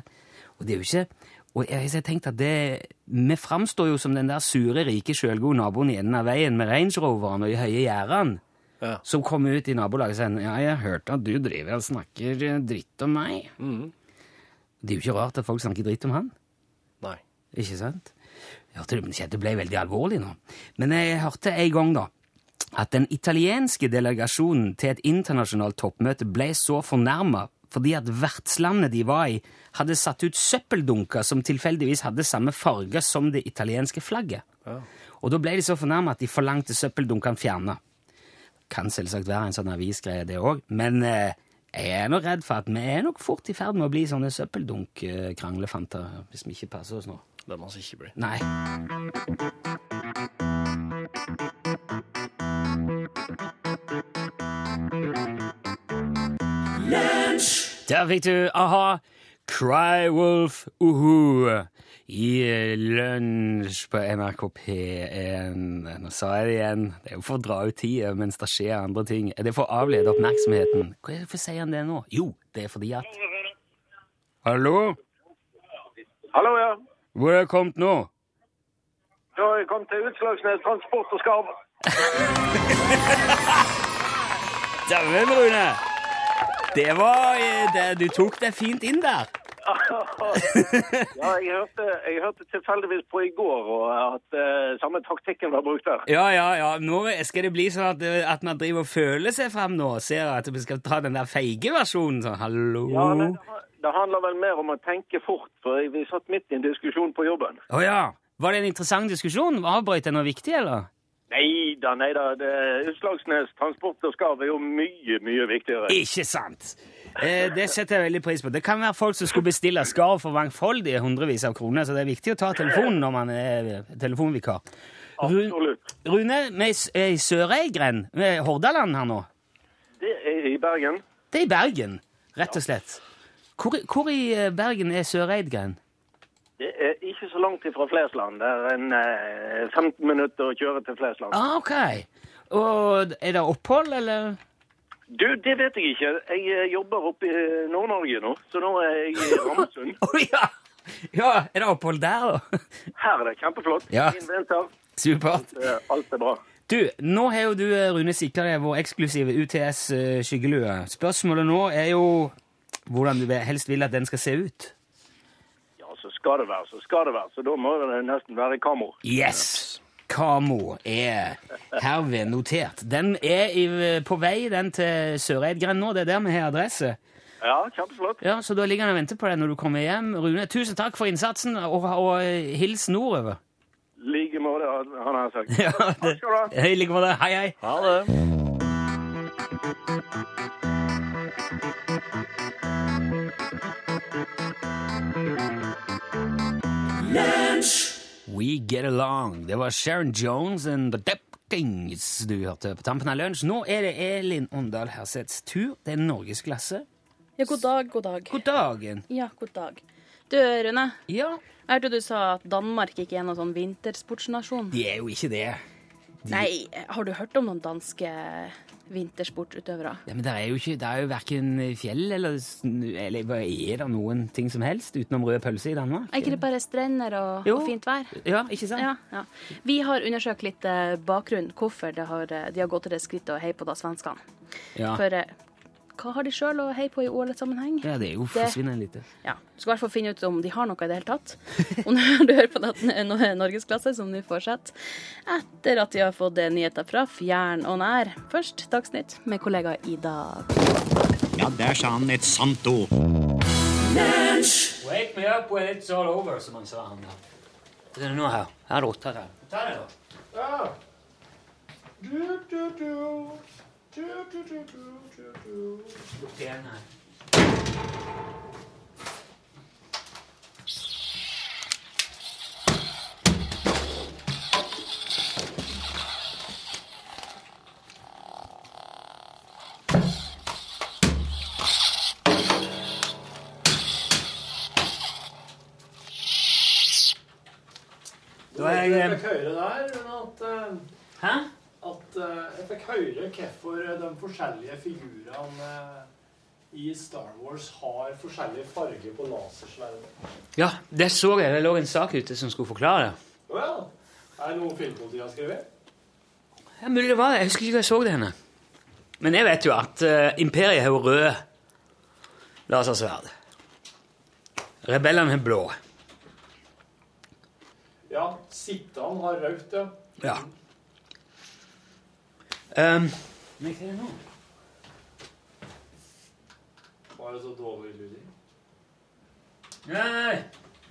Speaker 2: Og det er jo ikke Og jeg jeg har tenkt at det Vi framstår jo som den der sure, rike, sjølgode naboen i enden av veien med Range Roveren og de høye gjerdene som kom ut i nabolaget og sa ja, jeg hørte at du driver og snakker eh, dritt om meg. Det er jo ikke rart at folk snakker dritt om han,
Speaker 3: Nei.
Speaker 2: ikke sant? Jeg hørte det- det ble veldig alvorlig nå. Men jeg hørte en gang da, at den italienske delegasjonen til et internasjonalt toppmøte ble så fornærmet fordi at vertslandet de var i, hadde satt ut søppeldunker som tilfeldigvis hadde samme farge som det italienske flagget. Og da ble de så fornærmet at de forlangte søppeldunkene fjernet kan selvsagt være en sånn avisgreie, det òg, men eh, jeg er nok redd for at vi er nok fort i ferd med å bli sånne søppeldunk-kranglefanter, hvis vi ikke passer oss nå.
Speaker 3: Det må vi ikke bli.
Speaker 2: Nei. Der fikk du a-ha, Cry Wolf, uhu, i eh, lunsj på NRK P1. Nå sa jeg det igjen. Det er jo for å dra ut tida mens det skjer andre ting. Er det for å avlede oppmerksomheten? Hvorfor sier han det nå? Jo, det er fordi at Hallo?
Speaker 12: Hallo, ja.
Speaker 2: Hvor er jeg kommet nå?
Speaker 12: Da har jeg kommet til Utslagsnes Transport og Skarv.
Speaker 2: Dæven, Rune! Det var eh, det, Du tok deg fint inn der.
Speaker 12: Ja, jeg hørte, jeg hørte tilfeldigvis på i går og at eh, samme taktikken var brukt der.
Speaker 2: Ja, ja, ja. Nå skal det bli sånn at, at man driver og føler seg fram nå. Ser at vi skal ta den der feige versjonen. Sånn, hallo.
Speaker 12: Ja, men det, han- det handler vel mer om å tenke fort, for vi satt midt i en diskusjon på jobben.
Speaker 2: Å ja. Var det en interessant diskusjon? Avbrøt jeg noe viktig, eller?
Speaker 12: Neida, neida, det, Utslagsnes Transport og Skarv er jo mye, mye viktigere.
Speaker 2: Ikke sant! Eh, det setter jeg veldig pris på. Det kan være folk som skulle bestille skarv for mangfoldige hundrevis av kroner, så det er viktig å ta telefonen når man er eh, telefonvikar. Ru-
Speaker 12: Absolutt.
Speaker 2: Rune, vi er i S- er i Søreidgrend, vi er i Hordaland her nå.
Speaker 12: Det er i Bergen.
Speaker 2: Det er i Bergen, rett og slett. Hvor, hvor i eh, Bergen er Søreidgrend?
Speaker 12: Det er i ikke så langt ifra Flesland. Det er en eh, 15 minutter å kjøre til Flesland.
Speaker 13: Ah, ok. Og er det opphold, eller?
Speaker 12: Du, det vet jeg ikke. Jeg eh, jobber oppe i Nord-Norge nå, så nå er jeg i Ramsund.
Speaker 2: Ja, er det opphold der, da?
Speaker 12: Her er det kjempeflott.
Speaker 2: Ja.
Speaker 12: Fin vinter.
Speaker 2: Supert.
Speaker 12: Eh, Alt er bra.
Speaker 2: Du, nå har jo du, eh, Rune Sikre, vår eksklusive UTS-skyggelue. eh, Spørsmålet nå er jo hvordan du helst vil at den skal se ut.
Speaker 12: Ja, så skal det være, så skal det være. Så da må det nesten være kammo.
Speaker 2: Yes! Kamo er herved notert. Den er i, på vei den til Søreidgrend nå. Det er der vi har adresse.
Speaker 12: Ja, kjempeflott.
Speaker 2: Ja, Så da ligger den og venter på deg når du kommer hjem. Rune, tusen takk for innsatsen, og, og hils nordover.
Speaker 12: Like måte, han har sagt.
Speaker 2: Ja, det,
Speaker 12: Takk skal du ha.
Speaker 2: I like måte. Hei, hei.
Speaker 3: Ha det.
Speaker 2: We Get Along. Det var Sharon Jones and The Deptings du hørte på tampen av lunsj. Nå er det Elin Åndal Herseths tur. Det er norgesklasse.
Speaker 7: Ja, god dag, god dag.
Speaker 2: God dagen.
Speaker 7: Ja, god dag. Du, Rune.
Speaker 2: Ja.
Speaker 7: Jeg hørte du sa at Danmark ikke er noen sånn vintersportsnasjon.
Speaker 2: De er jo ikke det.
Speaker 7: Nei, har du hørt om noen danske vintersportutøvere?
Speaker 2: Ja, men det er jo ikke, det er jo hverken fjell eller, snu- eller hva er det noen ting som helst utenom rød pølse i Danmark?
Speaker 7: Er ikke det bare strender og,
Speaker 2: Jo.
Speaker 7: og fint vær?
Speaker 2: Ja, ikke sant?
Speaker 7: Ja, ja. Vi har undersøkt litt eh, bakgrunn, hvorfor det har, eh, de har gått til det skrittet å heie på da svenskene.
Speaker 2: Ja.
Speaker 7: For eh, hva har de sjøl å heie på i OL-sammenheng?
Speaker 2: Ja, det er jo
Speaker 7: Det-
Speaker 2: forsvinnende lite.
Speaker 7: Ja, Du skal i hvert fall finne ut om de har noe i det hele tatt. Og når du hører på det- nå er Norgesklasse, som nå fortsetter, etter at de har fått eh, nyheter fra fjern og nær. Først Dagsnytt med kollega Ida.
Speaker 14: Ja, der sa han et sant ord.
Speaker 2: Wake me up when it's all over, som han sa han da. Det er noe her. Her er åtta her. Ta det da. Ah.
Speaker 15: Ja. Du, du, du. Du, du, du, du, du, du.
Speaker 2: Lukk igjen her.
Speaker 5: Det
Speaker 2: var jeg-
Speaker 5: jeg fikk høre der, men at eh,
Speaker 2: Hæ?
Speaker 5: At eh, jeg fikk høre hvorfor de forskjellige figurene eh, i Star Wars har forskjellige farger på lasersverdet.
Speaker 2: Ja, det så jeg. Det lå en sak ute som skulle forklare det.
Speaker 5: Å ja. Er det noe filmpolitiet har skrevet?
Speaker 2: Ja, mulig det var det. Jeg husker ikke hva jeg så det henne. Men jeg vet jo at eh, imperiet har jo rød lasersverd. Rebellene har blå.
Speaker 5: Ja. Sittan har rødt, ja.
Speaker 2: Ja. Um,
Speaker 5: Var det så dårlig lyding?
Speaker 2: Nei.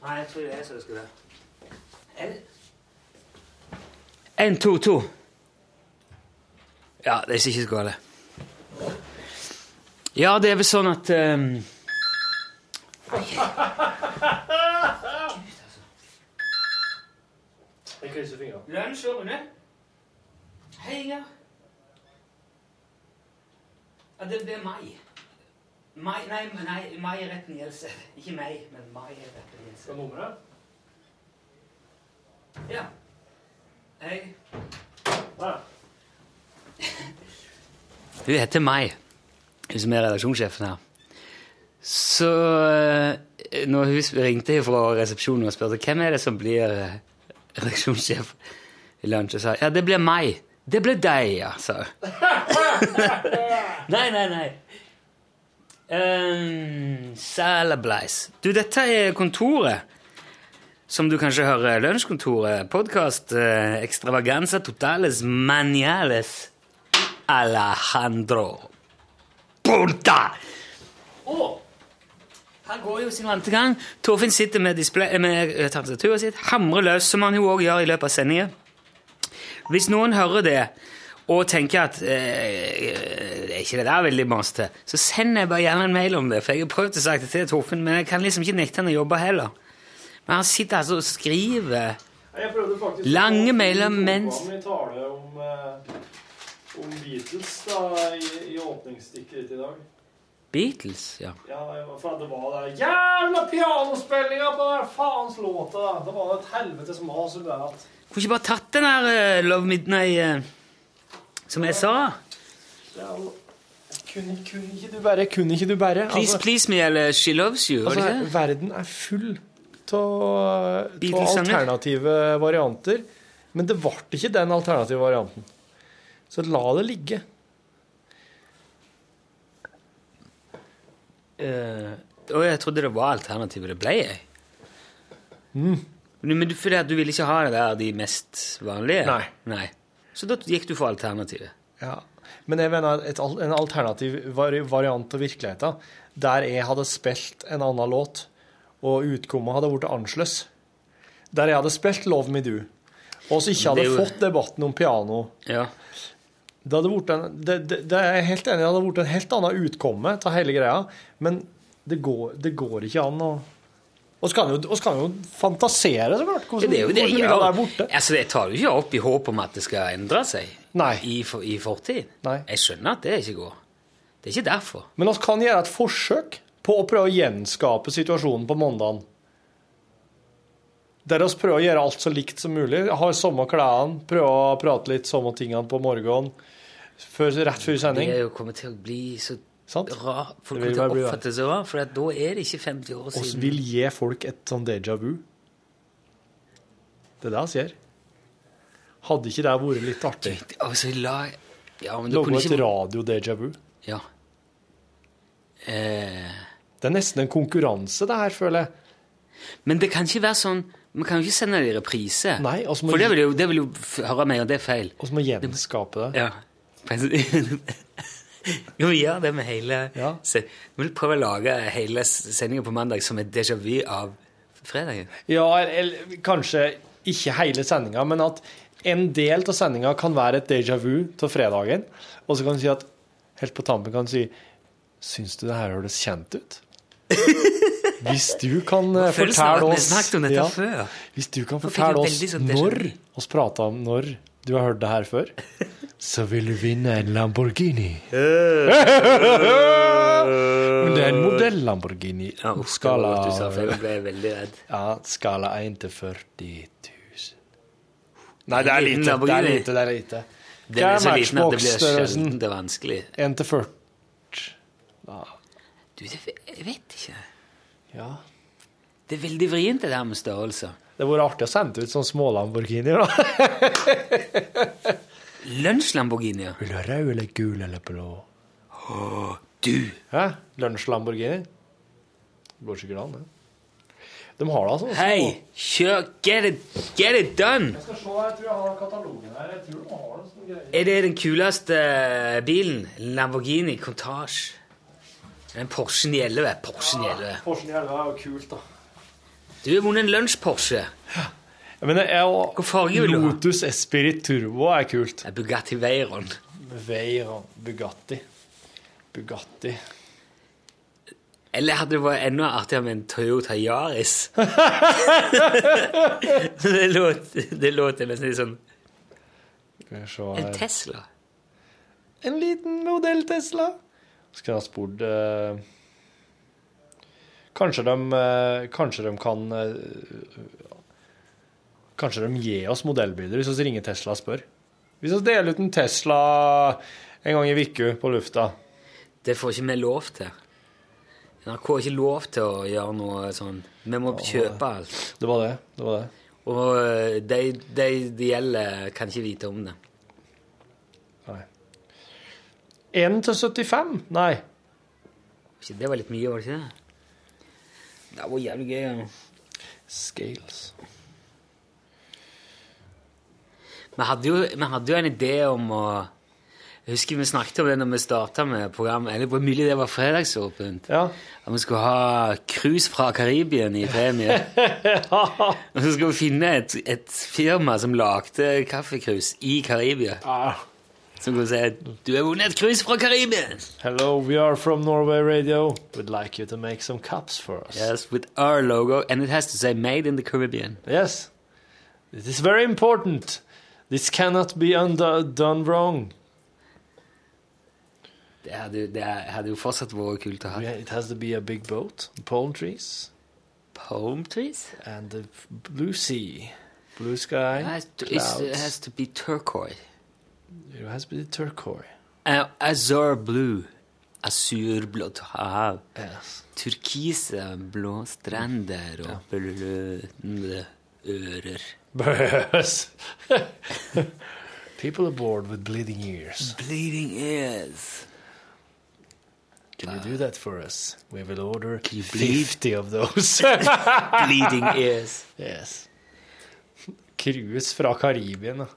Speaker 2: Nei, jeg tror det er så det skal være. En, to, to. Ja, det er ikke så galt. Ja, det er vel sånn at ehm,
Speaker 5: Jeg krysser fingrene.
Speaker 2: Lunsj og Rune. Hei, ja. Ja, det blir meg. Mai, nei, nei, Mai Retten Gjelse. Ikke meg, men Mai Retten Gjelse.
Speaker 5: Hva er nummeret?
Speaker 2: Ja. Hei. Hun heter Mai, hun som er redaksjonssjefen her. Så eh, når hun ringte fra resepsjonen og spurte hvem er det som blir eh, redaksjonssjef i lunsj, og sa ja, det blir meg. Det blir deg, ja, sa hun. nei, nei, nei. Um, Salablais. Du, dette er kontoret. Som du kanskje hører, Lunsjkontoret, podkast, eh, extravaganza totales maniales Alejandro Porta! Og her går jo sin vante gang. Torfinn sitter med, display, med eh, tastaturet sitt, hamrer løs, som han jo òg gjør i løpet av sendingen. Hvis noen hører det og tenker at eh, det er ikke det der veldig masete, så send jeg bare gjerne en mail om det. For jeg har prøvd å sagt det til Torfinn, men jeg kan liksom ikke nekte han å jobbe heller. Men han sitter altså og skriver
Speaker 5: Jeg prøvde faktisk
Speaker 2: Lange
Speaker 5: å-
Speaker 2: mailer
Speaker 5: å-
Speaker 2: mens-
Speaker 5: å- å- å- å- tale om, eh, om Beatles da, i, i åpningsstikket ditt i dag.
Speaker 2: Beatles, ja.
Speaker 5: Ja, for at det var der jævla pianospillinga på den faens låta. da. Det var jo et helvetes mas. i det at-
Speaker 2: Kunne ikke bare tatt den her eh, Love Midnight eh, som jeg sa?
Speaker 5: Ja, kunne, kunne ikke du bare Kunne ikke du bare
Speaker 2: Please Please Me eller She Loves You? var det
Speaker 5: Altså,
Speaker 2: ikke?
Speaker 5: verden er full av
Speaker 2: Beatles-sanger.
Speaker 5: alternative varianter. Men det ble ikke den alternative varianten. Så la det ligge.
Speaker 2: Eh, Å, jeg trodde det var alternativet. Det ble jeg.
Speaker 5: Mm.
Speaker 2: Men men du, fordi at du ville ikke ha det der de mest vanlige?
Speaker 5: Nei.
Speaker 2: Så da gikk du for alternativet?
Speaker 5: Ja. Men jeg mener et, al- en alternativ vari variant av virkeligheten, der jeg hadde spilt en annen låt, og utkommet hadde blitt annerledes. Der jeg hadde spilt 'Love Me Do', og så ikke
Speaker 2: Men det
Speaker 5: hadde
Speaker 2: er jo-
Speaker 5: fått debatten om piano.
Speaker 2: Ja.
Speaker 5: Det hadde vært en, det, det, det er jeg helt enig i. Det hadde vært en helt annen utkomme av hele greia. Men det går, det går ikke an å Og så kan jo, og så kan jo fantasere, så klart.
Speaker 2: Ja, det er jo det jeg
Speaker 5: ligger
Speaker 2: gjør.
Speaker 5: der borte?
Speaker 2: Altså, jeg tar jo ikke opp i håp om at det skal endre seg i, for, i fortid. Jeg skjønner at det ikke går. Det er ikke derfor.
Speaker 5: Men vi kan gjøre et forsøk på å prøve å gjenskape situasjonen på mandagen. Der vi prøver å gjøre alt så likt som mulig. Ha samme klærne, prøve å prate litt samme tingene på morgenen. Før, rett før sending.
Speaker 2: Det er jo kommet til å bli så rar. Folk
Speaker 5: Det vil
Speaker 2: kommer til å
Speaker 5: bare bli verre.
Speaker 2: oppfatte det så rart, for at da er det ikke 50 år
Speaker 5: oss
Speaker 2: siden.
Speaker 5: vil gi folk et sånn déjà vu. Det er det han sier. Hadde ikke det vært litt artig?
Speaker 2: Altså, la... Ja, men du
Speaker 5: Lage
Speaker 2: kunne
Speaker 5: et
Speaker 2: ikke...
Speaker 5: radio-déjà vu.
Speaker 2: Ja.
Speaker 5: Det er nesten en konkurranse, det her, føler jeg.
Speaker 2: Men det kan ikke være sånn Vi kan jo ikke sende det i reprise.
Speaker 5: Nei, altså, må-
Speaker 2: For det vil jo, det vil jo f- høre meg, og det er feil.
Speaker 5: Og så må gjenskape det.
Speaker 2: Ja. Jo, vi gjør det med hele se- Vi vil prøve å lage hele sendinga på mandag som et déjà vu av fredagen.
Speaker 5: Ja, eller kanskje ikke hele sendinga, men at en del av sendinga kan være et déjà vu til fredagen. Og så kan du si at Helt på tampen kan du si Syns du det her høres kjent ut? Hvis du kan eh,
Speaker 2: Følelsen av at
Speaker 5: fortelle
Speaker 2: vi
Speaker 5: oss
Speaker 2: snakket om dette
Speaker 5: Ja.
Speaker 2: før.
Speaker 5: Hvis du kan
Speaker 2: Nå fikk
Speaker 5: fortelle
Speaker 2: jeg
Speaker 5: oss
Speaker 2: veldig sånn déjà
Speaker 5: når
Speaker 2: vu.
Speaker 5: oss prata om når du har hørt det her før, så vil du vinne en Lamborghini. Men det er en modell-Lamborghini. skala
Speaker 2: det var godt du sa, for jeg ble veldig redd.
Speaker 5: Ja, skala 1 til 40 000. Nei, det
Speaker 2: Liten
Speaker 5: er lite. Det er
Speaker 2: Lamborghini.
Speaker 5: lite, det er lite.
Speaker 2: Den er så liten at det blir
Speaker 5: Matchbox-størrelsen?
Speaker 2: sjelden det er vanskelig.
Speaker 5: 1 til 40.
Speaker 2: Du, det, jeg vet ikke.
Speaker 5: Ja.
Speaker 2: Det er veldig vrient, det der med størrelser.
Speaker 5: Det hadde vært artig å sende ut sånne små Lamborghinier, da.
Speaker 2: Lunsj-Lamborghinier.
Speaker 5: Vil du ha rød eller gul eller blå?
Speaker 2: Åh, du!
Speaker 5: Hæ? Lunsj-Lamborghini? Går sikkert an, det. De har det altså.
Speaker 2: Hei, kjør! Get it, get it done!
Speaker 5: Jeg skal se, jeg tror jeg har katalogen her. Jeg tror de har en sånn greie.
Speaker 2: Er det den kuleste eh, bilen? Lamborghini Countach. Den Porschen i 11. Porschen i 11.
Speaker 5: Porschen i helvete er jo kult, da.
Speaker 2: Du har vunnet en lunsj-Porsche.
Speaker 5: Men jeg,
Speaker 2: Hvor farge vil du ha?
Speaker 5: Lotus Esprit Turbo er kult.
Speaker 2: Bugatti Veyron.
Speaker 5: Veyron, Bugatti. Bugatti.
Speaker 2: Eller hadde det vært enda artigere med en Toyota Yaris? det låt det låter nesten litt sånn
Speaker 5: Skal vi se
Speaker 2: En
Speaker 5: her.
Speaker 2: Tesla.
Speaker 5: En liten modell Tesla. Skal jeg ha spurt eh, Kanskje de eh, Kanskje de kan eh, Kanskje de gir oss modellbilder hvis vi ringer Tesla og spør. Hvis vi deler ut en Tesla en gang i uka på lufta
Speaker 2: Det får ikke vi lov til. NRK har ikke lov til å gjøre noe sånn. Vi må kjøpe alt.
Speaker 5: Det var det. det, var det.
Speaker 2: Og eh, de de det gjelder, kan ikke vite om det.
Speaker 5: Nei. 1 til 75? Nei.
Speaker 2: Ikke Det var litt mye, var det ikke det? Det var jævlig gøy. ja.
Speaker 5: Scales.
Speaker 2: Vi hadde, jo, vi hadde jo en idé om å Jeg husker vi snakket om det når vi starta med programmet. Eller hvor mulig det var fredagsåpent. At vi skulle ha cruise fra Karibien i premie. Og så skulle vi finne et, et firma som lagde kaffekrus i Karibia.
Speaker 5: Ah,
Speaker 2: Som kunne si 'Du har vunnet et cruise fra Karibien'.
Speaker 5: Hello, we are from Norway Radio. We'd like you to make some cups for us.
Speaker 2: Yes, with our logo, and it has to say 'Made in the Caribbean'.
Speaker 5: Yes. It is very important. This cannot be undo- done wrong.
Speaker 2: Det hadde, jo- det hadde jo fortsatt vært kult å ha.
Speaker 5: It has to be a big boat, palm trees.
Speaker 2: Palm trees?
Speaker 5: And the blue sea. Blue sky,
Speaker 2: It has to, it's- it has
Speaker 5: clouds.
Speaker 2: to be turquoise.
Speaker 5: It has to be turquoise.
Speaker 2: A- azure blue. Asurblått hav. Turkise blå strender og bløtende ører.
Speaker 5: Bøs. People aboard with bleeding ears.
Speaker 2: Bleeding ears.
Speaker 5: Can you do that for us? We will order
Speaker 2: Ah. bleed?
Speaker 5: 50 of those.
Speaker 2: Bleeding ears.
Speaker 5: Yes. Cruise fra Karibien, da.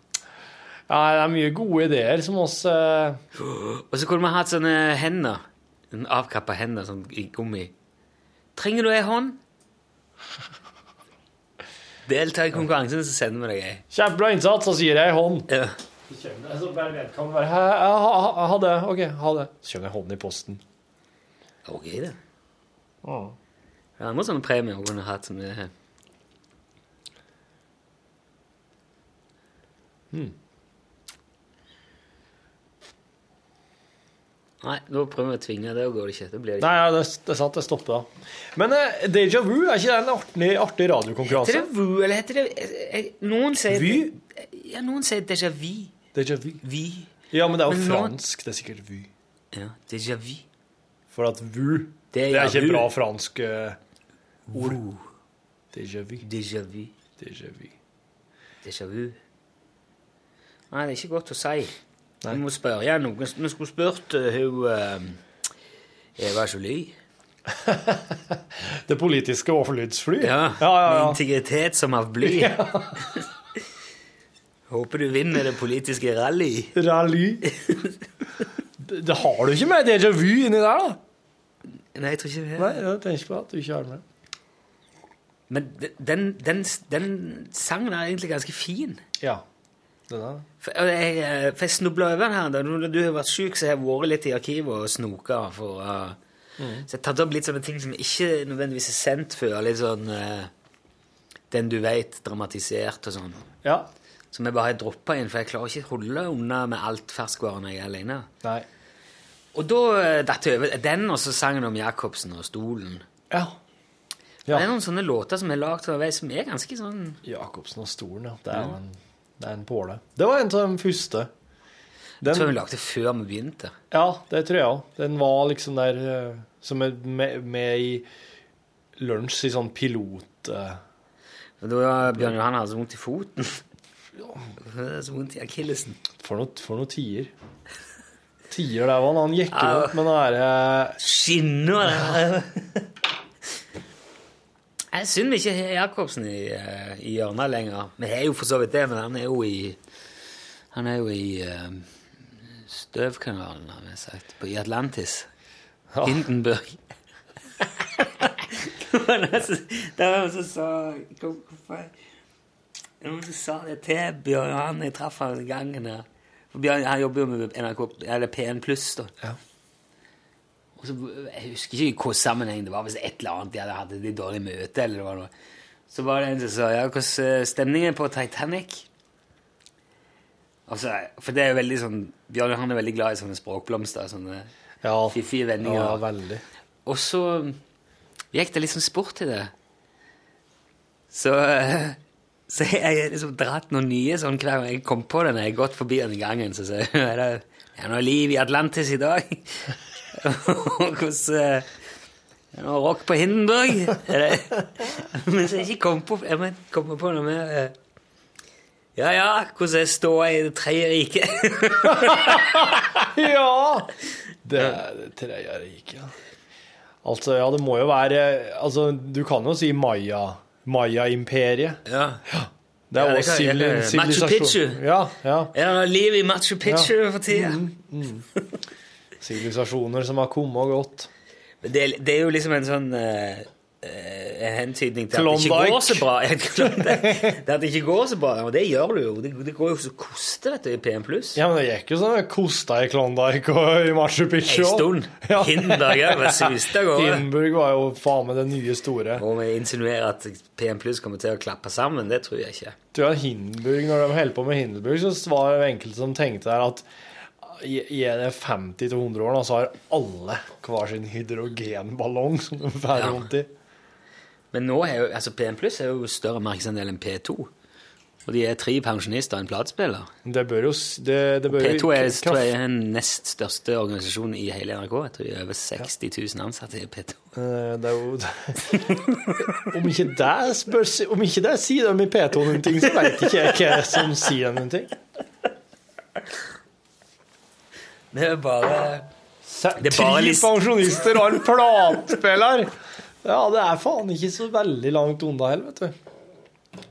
Speaker 5: Ja, det er mye gode ideer som oss eh,
Speaker 2: Og så kunne vi hatt sånne hender. En avkappa hender sånn i gummi. Trenger du ei hånd? Delta i konkurransen, så sender vi deg ei.
Speaker 5: Kjempebra innsats, og så gir jeg ei hånd.
Speaker 2: Ja.
Speaker 5: Så bare vedkommende bare «Hæ, ja, ha, ha, ha det. OK, ha det. Så kjører jeg hånden i posten.
Speaker 2: OK, det. Det er sånn andre sånne premier hun kunne hatt. som det her. Hmm. Nei, da prøver vi å tvinge det, og går det ikke. Da blir det
Speaker 5: Nei,
Speaker 2: ikke.
Speaker 5: ja, det, det er sant, det stopper da. Men eh, Deja Vu, er ikke det en artig, artig
Speaker 2: Heter
Speaker 5: radiokonkurranse?
Speaker 2: det vu, eller heter det eh, eh, Noen sier
Speaker 5: Vy?
Speaker 2: Ja, noen sier déjà vu.
Speaker 5: Deja Vu.
Speaker 2: Vi.
Speaker 5: Ja, men det er jo
Speaker 2: Men nå-
Speaker 5: fransk. Det er sikkert Vu.
Speaker 2: Ja, déjà vu.
Speaker 5: For at Vu Det
Speaker 2: Déjà
Speaker 5: er ikke
Speaker 2: vu.
Speaker 5: bra fransk eh, ord.
Speaker 2: Vu.
Speaker 5: Deja Vu.
Speaker 2: Déjà vu.
Speaker 5: Déjà Vu.
Speaker 2: Déjà vu. Nei, det er ikke godt å si. Vi må spørre ja, noen. Vi skulle spurt eh, hun eh, Eva Jolie.
Speaker 5: Det politiske overlydsfly?
Speaker 2: Ja,
Speaker 5: ja, ja.
Speaker 2: Med integritet som av bly. Håper du vinner det politiske rally.
Speaker 5: Rally. det, det har du ikke med déjà vu inni der, da.
Speaker 2: Nei, jeg tror ikke det.
Speaker 5: Nei, jeg tenker ikke på at du ikke har det med.
Speaker 2: Men de- den, den, den sangen er egentlig ganske fin.
Speaker 5: Ja. Den er.
Speaker 2: For og jeg, eh, for jeg snubla over den her. da. Når du har vært syk, så har jeg vært litt i arkivet og snoka. For, eh, Så jeg har tatt opp litt sånne ting som ikke nødvendigvis er sendt før. Litt sånn eh, Den du veit, dramatisert og sånn.
Speaker 5: Ja.
Speaker 2: Som jeg bare har droppa inn, for jeg klarer ikke å holde unna med alt ferskvare når jeg er alene.
Speaker 5: Nei.
Speaker 2: Og da eh, datt jeg over den og så sangen om Jacobsen og stolen.
Speaker 5: Ja.
Speaker 2: Det er noen sånne låter som er lagd underveis, som er ganske sånn
Speaker 5: Jacobsen og stolen, ja. Det er jo en, det er en påle. Det var en av de første.
Speaker 2: Jeg tror
Speaker 5: Den,
Speaker 2: vi lagde det før vi begynte.
Speaker 5: ja, det tror jeg òg. Den var liksom der eh, som er med, med i lunsj i sånn pilot... eh,
Speaker 2: Og da var Bjørn Johan hadde så vondt i foten. Det er så vondt i akillesen.
Speaker 5: For noen noe tier. Tier der var han. Han gikk jo
Speaker 2: Ja.
Speaker 5: opp med den derre
Speaker 2: Skinner der. Jeg synd vi ikke har Jacobsen i, eh, i hjørnet lenger. Vi har jo for så vidt det, men han er jo i Han er jo i eh, støvkanalen, har vi sagt, på, i Atlantis. Hindenburg. Det var noen som- det var noen som sa Hvorfor det var noen som sa det til Bjørn Johan jeg traff han i gangen her. For Bjørn han jobber jo med NRK, eller P1 pluss, da. Og så, jeg husker ikke i hvilken sammenheng det var, hvis et eller annet de hadde hatt et dårlig møte, eller det var noe. Så var det en som sa, ja, hvordan eh, stemningen er på Titanic? Altså, for det er jo veldig sånn, Bjørn Johan er veldig glad i sånne språkblomster, sånne
Speaker 5: Ja,
Speaker 2: fiffige vendinger.
Speaker 5: ja, veldig.
Speaker 2: Og så gikk det litt sånn sport i det. Så, eh, så jeg har liksom dratt noen nye sånn hver gang jeg kom på det når jeg har gått forbi den gangen. Så sier jeg er det er noe liv i Atlantis i dag. Og hvordan eh, Er det noe rock på Hindenburg? Er det, men så jeg ikke kom på, jeg må komme på noe mer eh, Ja ja, hvordan er ståa i det tredje riket?
Speaker 5: Ja! Det er det tredje riket, ja. Altså, ja, det må jo være Altså, du kan jo si Maya. Maya-imperiet.
Speaker 2: ja.
Speaker 5: Det er
Speaker 2: Ja,
Speaker 5: jo
Speaker 2: det kan- ja,
Speaker 5: sivil-
Speaker 2: ja. Machu
Speaker 5: sivilisasjon.
Speaker 2: Picchu.
Speaker 5: Ja, ja.
Speaker 2: Er det noe liv i Machu Picchu for tida?
Speaker 5: Sivilisasjoner som har kommet og gått.
Speaker 2: Men Det, er- det er jo liksom en sånn eh, eh, en hentydning til at det
Speaker 5: Klondike.
Speaker 2: ikke går så bra. Klondike. det at det ikke går så bra, og det gjør det jo. Det, det går jo så koste, vet du, i PM+.
Speaker 5: Ja, men det gikk jo sånn det kosta i Klondyke og i Machu Picchu.
Speaker 2: En
Speaker 5: også.
Speaker 2: stund.
Speaker 5: Ja.
Speaker 2: Hindenburg ja, bare suste av gårde.
Speaker 5: Hindenburg var jo faen meg det nye store.
Speaker 2: Og vi insinuerer at PM+, kommer til å klappe sammen, det tror jeg ikke.
Speaker 5: Du ja, Hindenburg, Når de holdt på med Hindenburg, så var det enkelte som tenkte der at i i de 50-100 årene, og så har alle hver sin hydrogenballong som de får
Speaker 2: Ja.
Speaker 5: rundt i.
Speaker 2: Men nå er jo, altså P1 Pluss er jo større markedsandel enn P2. Og de er tre pensjonister og en platespiller.
Speaker 5: Det bør jo s- det, det bør jo
Speaker 2: P2 er
Speaker 5: kraft-
Speaker 2: tror jeg, den nest største organisasjonen i hele NRK. Jeg tror de er over 60 000 ansatte i P2.
Speaker 5: Eh, Det er jo Om ikke det, spør, om ikke det sier de i P2 noen ting, så veit ikke jeg hva som sier dem noen ting.
Speaker 2: Det er bare Det er bare
Speaker 5: Tre
Speaker 2: list-
Speaker 5: pensjonister og en platespiller! Ja, det er faen ikke så veldig langt unna heller, vet du.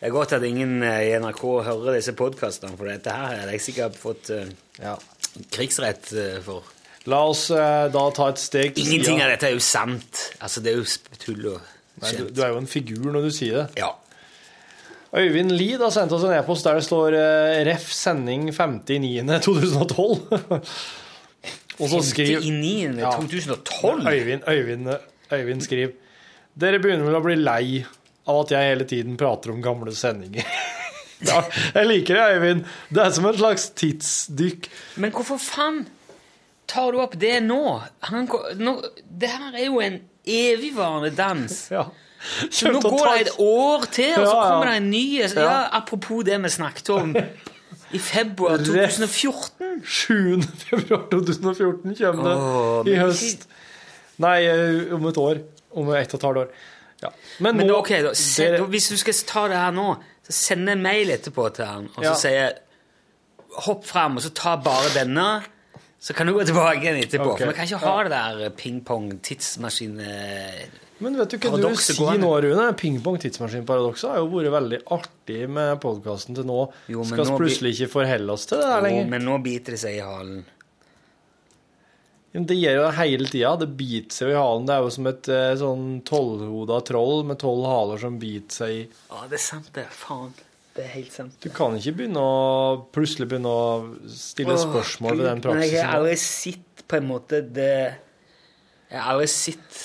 Speaker 2: Det er godt at ingen eh, i NRK hører disse podkastene, for dette her hadde jeg sikkert fått eh, krigsrett eh, for.
Speaker 5: La oss eh, da ta et steg til
Speaker 2: Ingenting
Speaker 5: siden.
Speaker 2: av dette er jo sant. Altså, det er jo sp- tull og
Speaker 5: Nei, du,
Speaker 2: skjent.
Speaker 5: du er jo en figur når du sier det.
Speaker 2: Ja.
Speaker 5: Øyvind Lie da sendte oss en e-post der det står eh, 'ref. sending 59.2012'. Og så skriver
Speaker 2: 59. 2012?
Speaker 5: Øyvind, Øyvind, Øyvind skriver 'Dere begynner vel å bli lei av at jeg hele tiden prater om gamle sendinger'. ja, jeg liker det, Øyvind. Det er som en slags tidsdykk.
Speaker 2: Men hvorfor faen tar du opp det nå? Han, ko- nå det her er jo en evigvarende dans. Så nå
Speaker 13: Kjempe-
Speaker 2: går det et år til, og så
Speaker 13: Ja, ja.
Speaker 2: kommer det en ny ja,
Speaker 13: Ja.
Speaker 2: Apropos det vi snakket om i februar 2014.
Speaker 5: 7. februar 2014 kommer det
Speaker 2: Åh,
Speaker 5: i
Speaker 2: men-
Speaker 5: høst. Nei, eh, om et år. Om ett og et halvt år. Ja.
Speaker 2: Men,
Speaker 5: nå-
Speaker 2: ok, da, se, da, hvis du skal ta det her nå, så send en mail etterpå til han, og så
Speaker 5: Ja.
Speaker 2: sier hopp fram, og så ta bare denne, så kan du gå tilbake igjen etterpå.
Speaker 5: Ok.
Speaker 2: For vi kan ikke ha det der eh, ping-pong-tidsmaskine...
Speaker 5: Men vet du hva du
Speaker 2: Paradokset går
Speaker 5: sier
Speaker 2: an.
Speaker 5: nå, Rune? Pingpong tidsmaskinparadokset har jo vært veldig artig med podkasten til nå.
Speaker 2: Jo, men
Speaker 5: Skal
Speaker 2: nå
Speaker 5: vi
Speaker 2: blir-
Speaker 5: plutselig ikke forholde oss til det her
Speaker 2: Jo,
Speaker 5: lenger?
Speaker 2: Men nå biter det seg i halen.
Speaker 5: Men Det gjør jo det hele tida. Det biter seg jo i halen. Det er jo som et eh, sånn tolvhoda troll med tolv haler som biter seg i
Speaker 2: Ja, det er sant, det. Faen. Det er helt sant.
Speaker 5: Du kan ikke begynne å plutselig begynne å stille
Speaker 2: Åh,
Speaker 5: spørsmål ved
Speaker 2: Gud,
Speaker 5: den
Speaker 2: Men jeg har
Speaker 5: praksisen.
Speaker 2: aldri sett på en måte det Jeg har aldri sett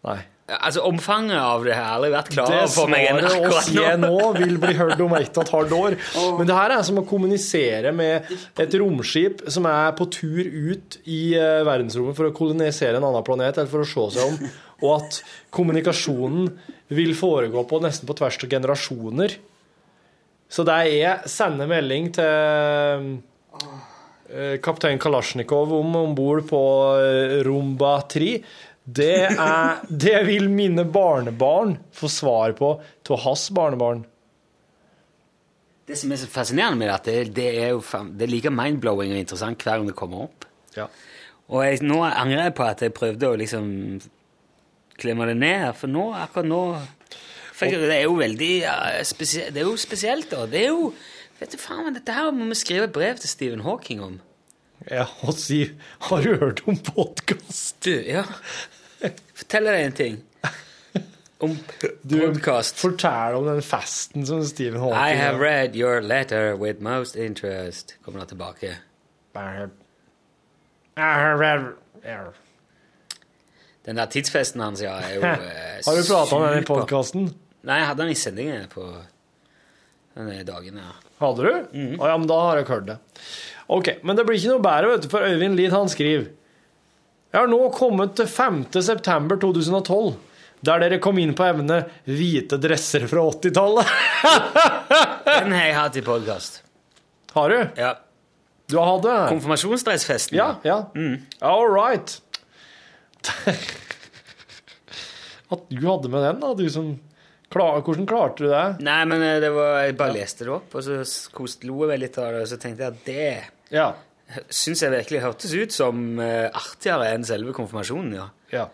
Speaker 5: Nei.
Speaker 2: Altså, omfanget av det her har aldri vært
Speaker 5: Det
Speaker 2: klarere for meg enn
Speaker 5: svaret å
Speaker 2: akkurat
Speaker 5: se
Speaker 2: nå.
Speaker 5: nå vil bli hørt om ett og et halvt år. Men det her er som å kommunisere med et romskip som er på tur ut i eh, verdensrommet for å kolonisere en annen planet, eller for å se seg om, og at kommunikasjonen vil foregå på nesten på tvers av generasjoner. Så det er sende melding til eh, kaptein Kalasjnikov om om bord på eh, Rumba 3. Det, er, det vil mine barnebarn få svar på av hans barnebarn.
Speaker 2: Det som er så fascinerende med det, at det, det er jo faen- det er like mindblowing og interessant hver gang det kommer opp.
Speaker 5: Ja.
Speaker 2: Og jeg, nå angrer jeg på at jeg prøvde å liksom klemme det ned her, for nå, akkurat nå for jeg, Det er jo veldig ja, spesie- Det er jo spesielt, da. Det er jo Vet du faen, men dette her må vi skrive et brev til Stephen Hawking om.
Speaker 5: Ja, og si Har du hørt om podkast?
Speaker 2: Du, ja. Fortell deg en ting. Om podkast.
Speaker 5: Fortell om den festen som Stephen Hawking
Speaker 2: I have read your letter with most interest. Kommer da tilbake. Den der tidsfesten hans, ja, er jo eh,
Speaker 5: Har du prata om den i
Speaker 2: super.
Speaker 5: podkasten?
Speaker 2: Nei, jeg hadde den i sendingen på denne dagen, ja.
Speaker 5: Hadde du? Å, ja, men da har jeg hørt det. Ok, Men det blir ikke noe bedre, vet du, for Øyvind Lid han skriver Jeg har nå kommet til 5. september 2012, der dere kom inn på evnet 'Hvite dresser fra 80-tallet'.
Speaker 2: Den har jeg hatt i podkast.
Speaker 5: Har du?
Speaker 2: Ja.
Speaker 5: Du har hatt det?
Speaker 2: Konfirmasjonsdressfesten.
Speaker 5: Ja, ja. All right. At du hadde med den, da. Du som klar, Hvordan klarte du det?
Speaker 2: Nei, men eh, det var, jeg bare leste det opp, og så s- kost, lo jeg meg litt av det, og så tenkte jeg at det
Speaker 5: ja.
Speaker 2: syns jeg virkelig hørtes ut som eh, artigere enn selve konfirmasjonen, ja.
Speaker 5: Ja.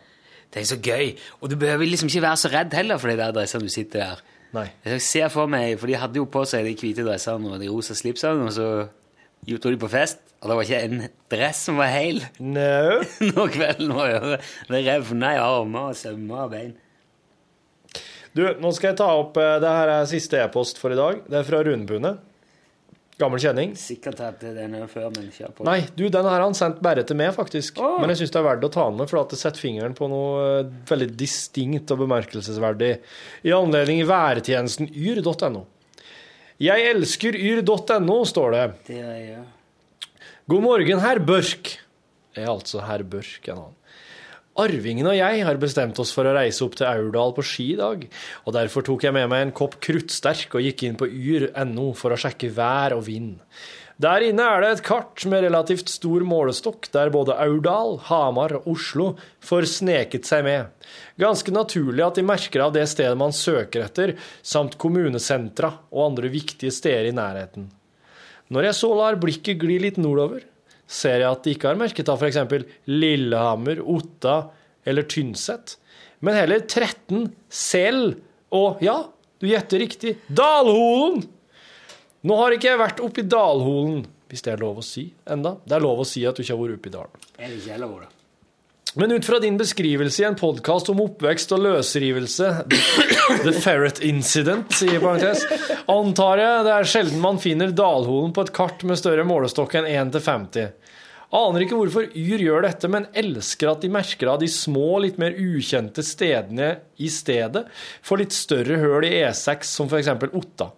Speaker 2: Det er så gøy, og du behøver liksom ikke være så redd heller for de der dressene du sitter der.
Speaker 5: Nei.
Speaker 2: Jeg ser for meg, for de hadde jo på seg de hvite dressene og de rosa slipsene, og så gjorde de på fest, og det var ikke en dress som var hel.
Speaker 5: No.
Speaker 2: Når kvelden var over. Det revna i armer og sømmer og bein.
Speaker 5: Du, nå skal jeg ta opp eh, Det her er siste e-post for i dag. Det er fra Rune Pune. Gammel kjenning.
Speaker 2: Sikkert at den er før, men kjør på.
Speaker 5: Nei, du, den her har han sendt bare til meg, faktisk. Men jeg syns det er verdt å ta den med, for at det setter fingeren på noe eh, veldig distinkt og bemerkelsesverdig. I anledning værtjenesten yr.no. Jeg elsker yr.no, står det.
Speaker 2: Det gjør jeg.
Speaker 5: God morgen, herr Børk. Er altså herr Børk en annen. Arvingen og jeg har bestemt oss for å reise opp til Aurdal på ski i dag, og derfor tok jeg med meg en kopp kruttsterk og gikk inn på yr.no for å sjekke vær og vind. Der inne er det et kart med relativt stor målestokk, der både Aurdal, Hamar og Oslo får sneket seg med. Ganske naturlig at de merker av det stedet man søker etter, samt kommunesentra og andre viktige steder i nærheten. Når jeg så lar blikket gli litt nordover, ser jeg at de ikke har merket av f.eks. Lillehammer, Otta eller Tynset, men heller 13, Sel og ja, du gjetter riktig, Dalholen! Nå har ikke jeg vært oppi Dalholen, hvis det er lov å si enda. Det er lov å si at du ikke har vært oppi dalen.
Speaker 2: Er det ikke jeg lov, da?
Speaker 5: Men ut fra din beskrivelse i en podkast om oppvekst og løsrivelse The Ferret Incident, sier parentes, antar jeg det er sjelden man finner Dalholen på et kart med større målestokk enn 1 til 50. Aner ikke hvorfor Yr gjør dette, men elsker at de merker av de små, litt mer ukjente stedene i stedet for litt større høl i E6, som f.eks. Otta.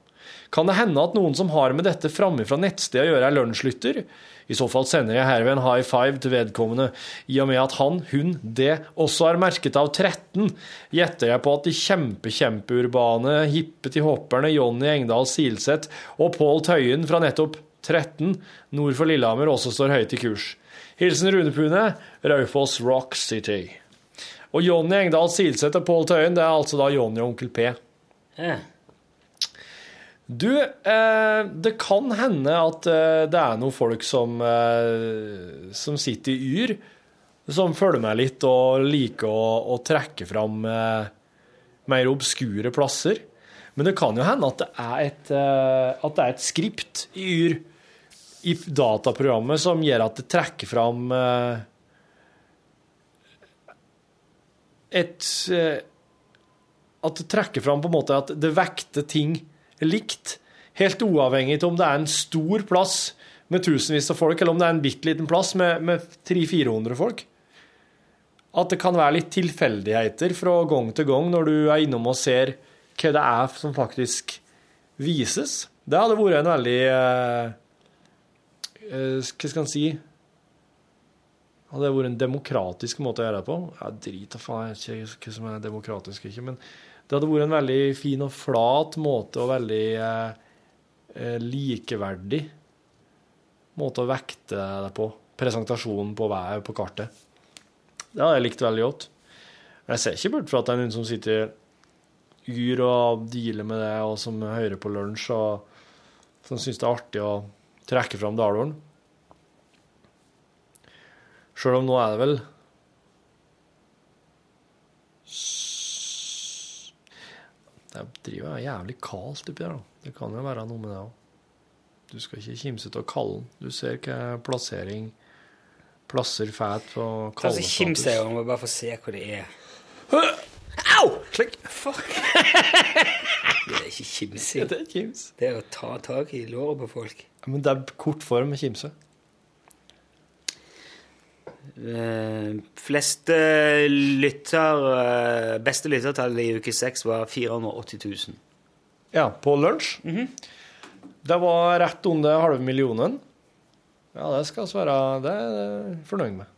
Speaker 5: Kan det hende at noen som har med dette framme fra nettstedet å gjøre, er lunsjlytter? I så fall sender jeg herved en high five til vedkommende, i og med at han, hun, det også har merket av 13, gjetter jeg på at de kjempe-kjempeurbane, hippe til hopperne Jonny Engdahl Silseth og Pål Tøyen fra nettopp 13 nord for Lillehammer også står høyt i kurs. Hilsen Rune Pune, Raufoss Rock City. Og Jonny Engdahl Silseth og Pål Tøyen, det er altså da Jonny og Onkel P.
Speaker 2: Ja.
Speaker 5: Du, eh, det kan hende at eh, det er noen folk som, eh, som sitter i yr, som følger med litt og liker å, å trekke fram eh, mer obskure plasser. Men det kan jo hende at det er et, eh, at det er et skript i yr i dataprogrammet som gjør at det trekker fram eh, et eh, At det trekker fram på en måte at det vekter ting likt, helt uavhengig av om det er en stor plass med tusenvis av folk, eller om det er en bitte liten plass med, med 300-400 folk. At det kan være litt tilfeldigheter fra gang til gang når du er innom og ser hva det er som faktisk vises. Det hadde vært en veldig eh, eh, Hva skal en si? Hadde det vært en demokratisk måte å gjøre det på? Ja, drit da faen, jeg vet ikke hva som er demokratisk og ikke, men det hadde vært en veldig fin og flat måte, og veldig eh, eh, likeverdig måte å vekte det på. Presentasjonen på været på kartet. Det hadde jeg likt veldig godt. Men jeg ser ikke bort fra at det er noen som sitter yr og dealer med det, og som hører på lunsj, og som syns det er artig å trekke fram Dalhorn. Sjøl om nå er det vel Det driver jeg jævlig kaldt oppi der, da. Det kan jo være noe med det òg. Du skal ikke kimse av kallen. Du ser hva plassering plasser fælt på
Speaker 2: Ta så kims jeg
Speaker 5: kallen.
Speaker 2: om å bare få se hvor det er.
Speaker 5: Au! Slik.
Speaker 2: Fuck. Det er ikke kimsing.
Speaker 5: Det er kims.
Speaker 2: Det er å ta tak i låret på folk.
Speaker 5: Men det er kort form kimse.
Speaker 2: Eh, fleste lytter eh, Beste lyttertallet i uke seks var 480 000.
Speaker 5: Ja, Mhm. på lunsj. Det var rett under halve millionen. Ja, det skal vi være Det er jeg fornøyd med.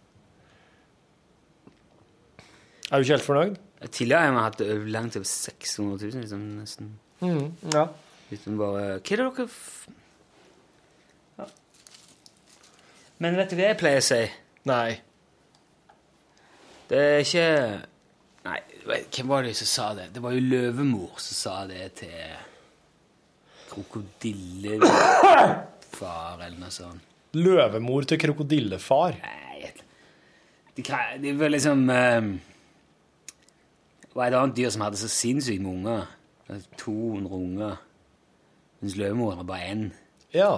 Speaker 5: Er du ikke helt fornøyd?
Speaker 2: Tidligere har vi hatt ø- langt over 600 000, liksom, nesten.
Speaker 5: Mhm, ja.
Speaker 2: Uten bare Hva er det dere f... Ja. Men vet du hva jeg pleier å si?
Speaker 5: Nei.
Speaker 2: Det er ikke Nei, vet- hvem var det som sa det? Det var jo Løvemor som sa det til krokodillefar eller noe sånt.
Speaker 5: Løvemor til krokodillefar.
Speaker 2: De, kra- de var liksom eh, Det var et annet dyr som hadde så sinnssykt med unger. Altså 200 unger. Mens løvemor hadde bare én.
Speaker 5: Ja.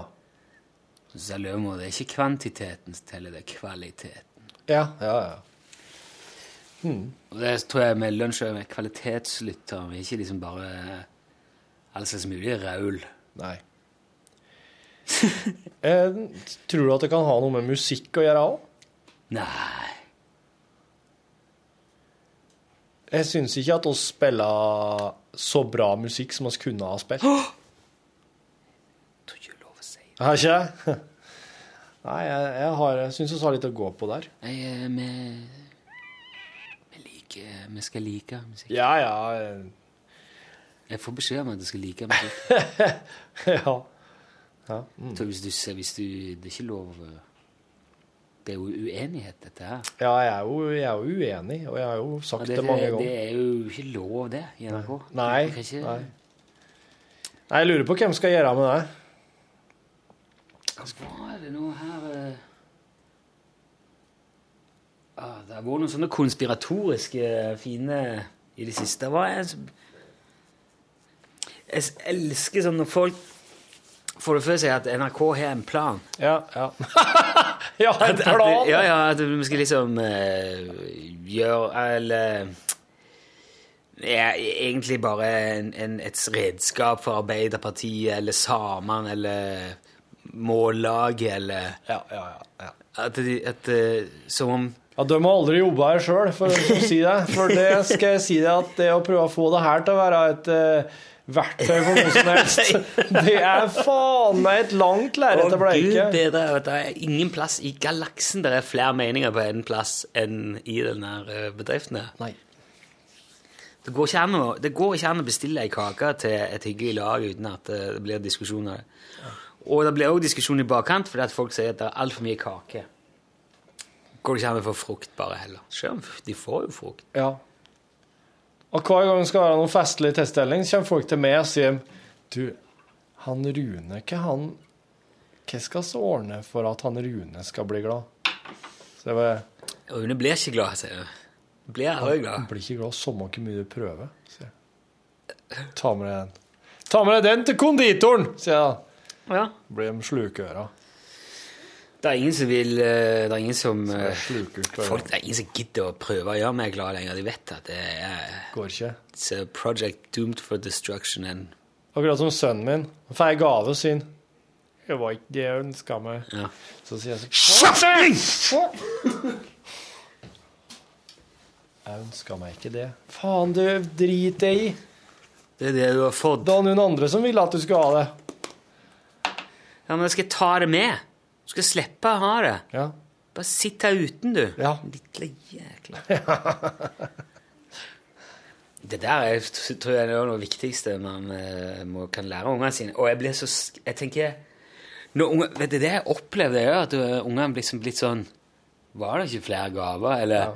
Speaker 2: Så sa løvemor det er ikke kvantiteten som teller, det er kvaliteten.
Speaker 5: Ja, ja, ja. Mhm.
Speaker 2: Og det tror jeg med lunsj er kvalitetslytter. Vi er ikke liksom bare all slags mulig raul.
Speaker 5: Nei. Eh, tror du at det kan ha noe med musikk å gjøre òg?
Speaker 2: Nei.
Speaker 5: Jeg syns ikke at oss spiller så bra musikk som oss kunne ha spilt.
Speaker 2: Tror ikke det er lov å si.
Speaker 5: Har ikke? Nei, jeg, jeg, har- jeg syns vi har litt å gå på der.
Speaker 2: Nei, eh, vi, vi liker Vi skal like musikk.
Speaker 5: Ja, ja.
Speaker 2: eh. Jeg får beskjed om at jeg skal like musikk.
Speaker 5: ja. ja.
Speaker 2: Jeg tror hvis du, ser- hvis du Det er ikke lov eh, Det er jo uenighet, dette her.
Speaker 5: Ja, jeg er, jo, jeg er jo uenig, og jeg har jo sagt
Speaker 2: Og
Speaker 5: det,
Speaker 2: det,
Speaker 5: mange
Speaker 2: det,
Speaker 5: ganger.
Speaker 2: er jo ikke lov, det, i NRK.
Speaker 5: Nei,
Speaker 2: Du kan ikke-
Speaker 5: nei. Nei, jeg lurer på hvem skal gjøre med det.
Speaker 2: Hva er det nå her eh? ah, Det har vært noen sånne konspiratoriske eh, fine i det siste. Hva er det som- Jeg s- elsker sånn når folk for det første sier at NRK har en plan.
Speaker 5: Ja, ja. ja,
Speaker 2: At-
Speaker 5: en
Speaker 2: at vi-
Speaker 5: plan!
Speaker 2: Ja, ja, at vi skal liksom eh, gjøre Eller ja, Egentlig bare en, en, et redskap for Arbeiderpartiet eller samene eller Mållaget eller
Speaker 5: Ja, ja, ja.
Speaker 2: At, de- at eh, Som om
Speaker 5: Ja, De har aldri jobba her sjøl, for å si det. For det skal jeg si deg at det å prøve å få det her til å være et eh, verktøy for noe som helst, det er faen meg et langt lerret å
Speaker 2: Gud
Speaker 5: bleike.
Speaker 2: bedre, vet du, det er ingen plass i galaksen der er flere meninger på en plass enn i denne eh, bedriften. her. Det går, ikke an å, det går ikke an å bestille ei kake til et hyggelig lag uten at eh, det blir diskusjon av det. Og det blir også diskusjon i bakkant fordi at folk sier at det er altfor mye kake. Går det ikke an å få frukt bare heller? Selv om de får jo frukt.
Speaker 5: Ja. Og hver gang det skal være noen festlig tilstelning, så kommer folk til meg og sier Du, han Rune, hva han Hva skal vi ordne for at han Rune skal bli glad? Så jeg bare
Speaker 2: Rune blir ikke glad, sier hun. Blir jeg aldri glad?
Speaker 5: Han blir ikke glad samme hvor mye du prøver. sier jeg. Ta med deg den. Ta med deg den til konditoren, sier jeg da.
Speaker 2: Ja.
Speaker 5: Blir de slukøra.
Speaker 2: Det er ingen som vil eh, Det er ingen som eh,
Speaker 5: sluker ut på
Speaker 2: folk, Det er ingen som gidder å prøve å gjøre meg glad lenger. De vet at det er
Speaker 5: Går ikke.
Speaker 2: It's a project doomed for destruction and
Speaker 5: Akkurat som sønnen min. Han får ei gave og sier Det var ikke det jeg ønska meg.
Speaker 2: Ja.
Speaker 5: Så sier jeg
Speaker 2: sånn
Speaker 5: Jeg ønska meg ikke det. Faen, du drit det i.
Speaker 2: Det er det du har fått.
Speaker 5: Det var noen andre som ville at du skulle ha det.
Speaker 2: Ja, men jeg skal ta det med. Du skal slippe å ha det. Bare sitt her uten, du.
Speaker 5: Ja.
Speaker 2: Lille jækla Det der er, tror jeg det er noe av det viktigste man eh, må, kan lære ungene sine. Og jeg blir så sk- Jeg tenker når unge, Vet du det jeg opplevde, er jo at eh, ungene blir liksom blitt sånn Var det ikke flere gaver? Eller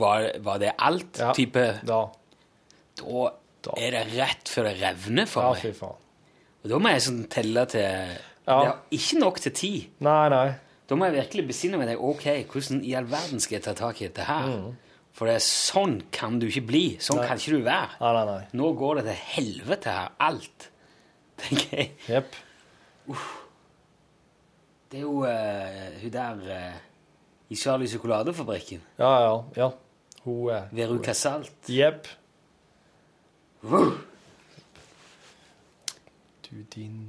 Speaker 2: Var, var det alt? Type
Speaker 5: Da.
Speaker 2: Da er det rett før det revner for
Speaker 5: Ja,
Speaker 2: meg.
Speaker 5: fy faen.
Speaker 2: Og da må jeg sånn telle til Det er ikke nok til ti.
Speaker 5: Nei, nei.
Speaker 2: Da må jeg virkelig besinne meg. deg, Ok, hvordan i all verden skal jeg ta tak i dette her? For det er sånn kan du ikke bli. Sånn
Speaker 5: Nei.
Speaker 2: kan ikke du være.
Speaker 5: Nei, nei, nei.
Speaker 2: Nå går det til helvete her, alt. Tenker jeg.
Speaker 5: Jepp.
Speaker 2: Det er jo eh, hun der eh, i Charlie sjokoladefabrikken.
Speaker 5: Ja, ja. ja. Hun er
Speaker 2: Veru Casalt.
Speaker 5: Jepp.
Speaker 2: Wow.
Speaker 5: Du din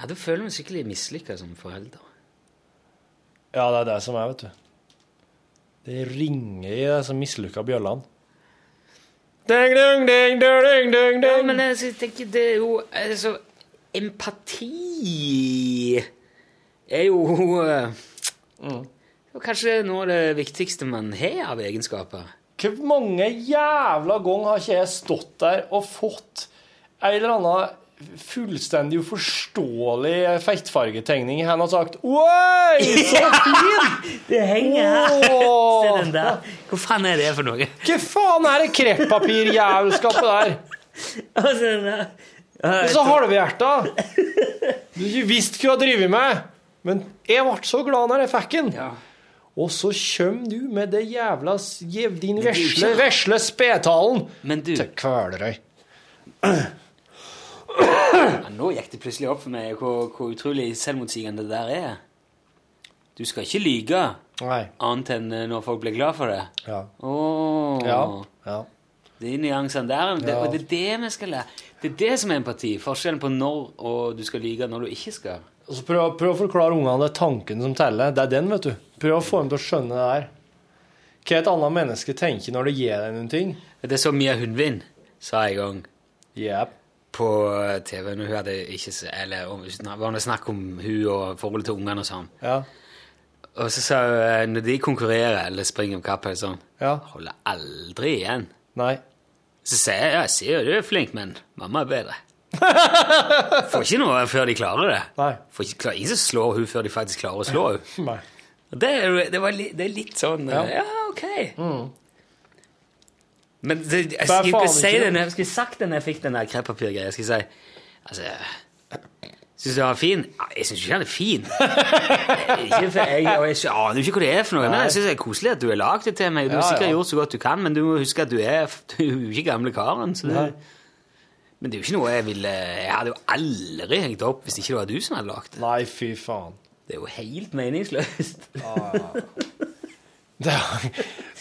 Speaker 2: Ja, da føler jeg meg skikkelig mislykka som forelder.
Speaker 5: Ja, det er det som er, vet du. Det ringer i disse mislykka bjøllene. Ding, ding, ding, ding, ding,
Speaker 2: Ja,
Speaker 5: ding.
Speaker 2: men jeg sy- tenker det er jo altså, Empati er jo eh, det er Kanskje noe av det viktigste man har av egenskaper.
Speaker 5: Hvor mange jævla ganger har ikke jeg stått der og fått ei eller anna fullstendig uforståelig fettfargetegning i hendene og sagt Oi, så fin!
Speaker 2: det henger her.
Speaker 5: Åh.
Speaker 2: Se den der. Hva faen er det for noe?
Speaker 5: Hva faen er det kreppapirjævelskapet der?
Speaker 2: Altså, den
Speaker 5: Og så halvhjerta! Du har ikke visst hva du har drevet med! Men jeg ble så glad når jeg fikk den. Og så kjøm du med det jævla s- jev- din
Speaker 2: det er jo
Speaker 5: vesle,
Speaker 2: ikke-
Speaker 5: vesle spedtalen
Speaker 2: Men du-
Speaker 5: til Kvelerøy.
Speaker 2: Ja, nå gikk det plutselig opp for meg hvor, hvor utrolig selvmotsigende det der er. Du skal ikke lyge
Speaker 5: Nei.
Speaker 2: annet enn eh, når folk blir glad for det.
Speaker 5: Ja.
Speaker 2: Åh.
Speaker 5: Ja. ja.
Speaker 2: De nyansene der. Det,
Speaker 5: Ja.
Speaker 2: og det er det vi skal lære. Det er det som er empati. Forskjellen på når og du skal lyge, når du ikke skal.
Speaker 5: Og så prøv, prøv å forklare ungene det er tanken som teller. Det er den, vet du. Prøv å få dem til å skjønne det der. Hva et annet menneske tenker når det gir deg noen ting.
Speaker 2: Det er så mye hundvin, sa jeg en gang.
Speaker 5: Yep.
Speaker 2: på TV når hun hadde ikke s- Eller om, det var noe snakk om hun og forholdet til ungene og sånn.
Speaker 5: Ja.
Speaker 2: Og så sa hun eh, når de konkurrerer eller springer om kapp eller sånn
Speaker 5: Ja.
Speaker 2: Holder aldri igjen.
Speaker 5: Nei.
Speaker 2: Så sier jeg ja, jeg sier jo du er flink, men mamma er bedre. Får ikke noe før de klarer det. Får ikke, klar, ingen som slår hun før de faktisk klarer å slå hun.
Speaker 5: Nei.
Speaker 2: Og Det er, jo- det, var, li- det er litt sånn
Speaker 5: Ja.
Speaker 2: eh, Ja, ok. Men det, jeg
Speaker 5: Bare
Speaker 2: skulle ikke
Speaker 5: faen
Speaker 2: si
Speaker 5: ikke.
Speaker 2: det når jeg skulle sagt det når jeg fikk den der kreppapirgreia. Jeg skulle si Altså Syns du den var fin? Ja, Jeg syns ikke den er fin. Ikke for jeg, og jeg skj- aner jo ikke hva det er for noe. Men jeg syns det er koselig at du har lagd det til meg. Du har
Speaker 13: Ja,
Speaker 2: sikkert
Speaker 13: ja.
Speaker 2: gjort så godt du kan, men du må huske at du er, du er jo ikke gamle karen. Så det,
Speaker 13: Nei.
Speaker 2: men det er jo ikke noe jeg ville Jeg hadde jo aldri hengt opp hvis ikke det var du som hadde lagd det.
Speaker 5: Nei, fy faen.
Speaker 2: Det er jo helt meningsløst.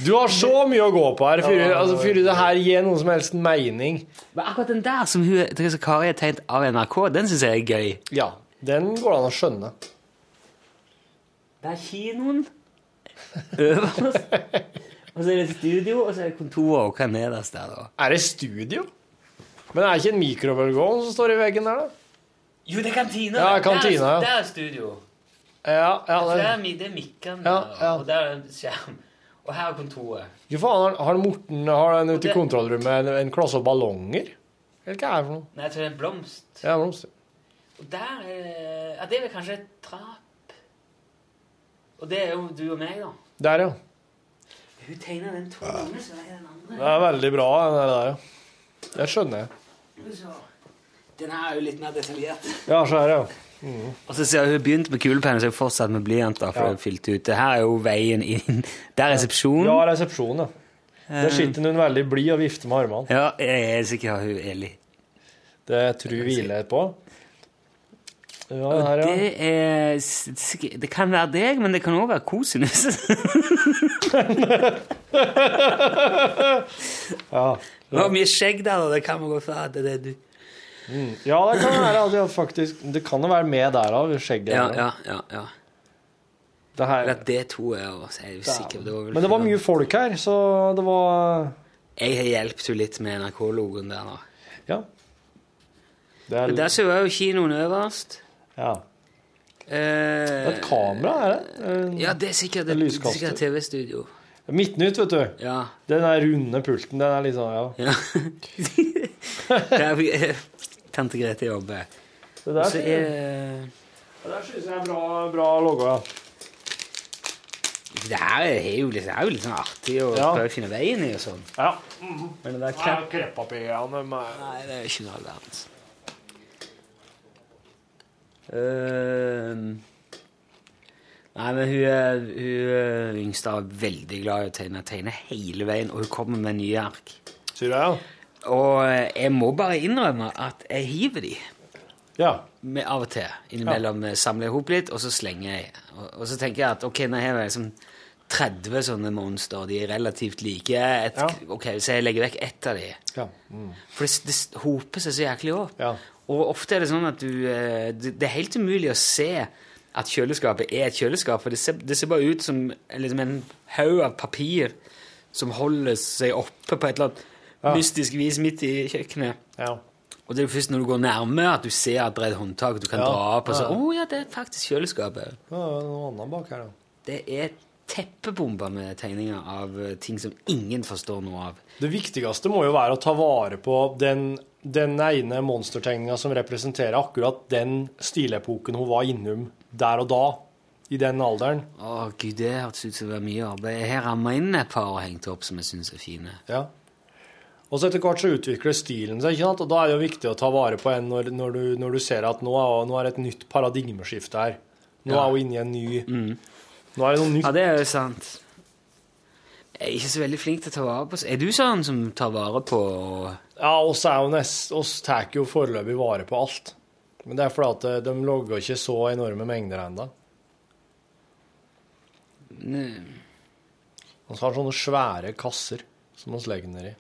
Speaker 5: Du har så mye å gå på her, Fyre.
Speaker 2: Ja,
Speaker 5: Altså, Fyre, det her gir noen som helst mening.
Speaker 2: Men akkurat den der som hun, det som Kari har tegnet av NRK, den syns jeg er gøy.
Speaker 5: Ja, den går det an å skjønne.
Speaker 2: Det er kinoen øverst, og så er det studio, og så er det kontoret og hva nederst der, da.
Speaker 5: Er det studio? Men er det ikke en mikrobølgeovn som står i veggen der, da?
Speaker 2: Jo, det er kantina.
Speaker 5: Ja,
Speaker 2: der.
Speaker 5: kantina, ja.
Speaker 2: Der, der er studio.
Speaker 5: Ja, ja,
Speaker 2: Altså, der
Speaker 5: det
Speaker 2: er, mi- det er mikkene,
Speaker 5: Ja,
Speaker 2: der, og der er en skjerm. Og her er kontoret.
Speaker 5: Jo, faen, har- har Morten har han ute i
Speaker 2: det-
Speaker 5: kontrollrommet en, en klasse av ballonger? Eller hva er det for noe?
Speaker 2: Nei, jeg tror det er en blomst.
Speaker 5: Ja, blomster.
Speaker 2: Og der er det- Ja, det er vel kanskje et trap. Og det er jo du og meg, da.
Speaker 5: Der, ja.
Speaker 2: Hun tegner den to ganger, så er den andre.
Speaker 5: Det er veldig bra, den der, der, ja. Det skjønner jeg.
Speaker 2: Den her er jo litt mer detaljert.
Speaker 5: Ja, så er det, ja.
Speaker 2: Og så ser jeg hun begynt med kulepenn, så jeg fortsatt med blyant. da, for
Speaker 5: Ja.
Speaker 2: jeg fylte ut. Det her er jo veien inn. Det er resepsjonen.
Speaker 5: Ja, resepsjonen, ja.
Speaker 2: Eh.
Speaker 5: Der sitter hun veldig blid og vifter med armene.
Speaker 2: Ja, jeg er sikker på hun Eli.
Speaker 5: Det tror vi hviler på. Ja, den her, ja.
Speaker 2: Det, er, s- sikk- det kan være deg, men det kan også være kosinus.
Speaker 5: ja.
Speaker 2: Det var mye skjegg der, og det kan man gå fra at det er du.
Speaker 5: Mm. Ja, det kan være at jeg faktisk Det kan jo være med der òg, skjegget.
Speaker 2: Ja,
Speaker 5: der,
Speaker 2: ja, ja. ja.
Speaker 5: Det her-
Speaker 2: Eller at det to er over, så er jeg jo sikker. på Det var vel
Speaker 5: Men det var mye folk her, så det var
Speaker 2: Jeg har hjulpet henne litt med NRK-logoen der nå.
Speaker 5: Ja. Det er
Speaker 2: Men Der ser jeg jo kinoen øverst.
Speaker 5: Ja.
Speaker 2: Eh,
Speaker 5: Et kamera, er det?
Speaker 2: Ja, det er sikkert et,
Speaker 5: En lyskaster.
Speaker 2: sikkert et TV-studio.
Speaker 5: Midtnytt, vet du.
Speaker 2: Ja.
Speaker 5: Den der runde pulten, den er litt sånn, ja.
Speaker 2: Der vi- Tante Grete jobber.
Speaker 5: Det
Speaker 2: Og
Speaker 5: der,
Speaker 2: så er
Speaker 5: det der synes jeg er bra, bra logo, ja.
Speaker 2: Det her er jo litt, det er jo litt sånn artig å
Speaker 5: Ja.
Speaker 2: prøve å finne veien i og sånn.
Speaker 5: Ja. Mm,
Speaker 2: Men det der
Speaker 5: krepp...
Speaker 2: krepp-
Speaker 5: Nei,
Speaker 2: det er ikke noe all verdens. Ehm, nei, men hun, er, hun er yngste er veldig glad i å tegne. Tegner hele veien, og hun kommer med nye ark.
Speaker 5: Sier du ja?
Speaker 2: Og jeg må bare innrømme at jeg hiver de.
Speaker 5: Ja.
Speaker 2: Med av og til. Innimellom eh, samler jeg ihop litt, og så slenger jeg. Og, og så tenker jeg at ok, nå har jeg liksom 30 sånne monster, de er relativt like. Et, Ok, Så jeg legger vekk ett av de.
Speaker 5: Ja. Mm.
Speaker 2: For det, det hoper seg så jæklig opp. Og ofte er det sånn at du eh, Det, det er helt umulig å se at kjøleskapet er et kjøleskap, for det ser, det ser bare ut som liksom en haug av papir som holder seg oppe på et eller annet
Speaker 13: Ja.
Speaker 2: mystisk vis midt i kjøkkenet.
Speaker 5: Ja.
Speaker 2: Og det er jo først når du går nærme at du ser at det er et håndtak du kan
Speaker 5: Ja.
Speaker 2: dra opp og så,
Speaker 5: Ja.
Speaker 2: å ja, det er faktisk kjøleskapet.
Speaker 5: Ja, det er noe annet bak her, da.
Speaker 2: Det er teppebomber med tegninger av eh, ting som ingen forstår noe av.
Speaker 5: Det viktigste må jo være å ta vare på den, den ene monstertegninga som representerer akkurat den stilepoken hun var innom der og da, i den alderen.
Speaker 2: Å gud, det hørtes ut som det var mye arbeid. Jeg har rammet inn et par og hengt opp som jeg synes er fine.
Speaker 5: Ja. Og så etter hvert så utvikler stilen seg, ikke sant? og da er det jo viktig å ta vare på en når, når, du, når du ser at nå er, nå er et nytt paradigmeskifte her. Nå
Speaker 2: Ja.
Speaker 5: er hun inne i en ny Nå er det noe nytt.
Speaker 2: Ja, det er jo sant. Jeg er ikke så veldig flink til å ta vare på Er du sånn som tar vare på
Speaker 5: Ja, oss er jo nest, oss tar jo foreløpig vare på alt. Men det er fordi at eh, de logger ikke så enorme mengder ennå. Vi har sånne svære kasser som vi legger ned i.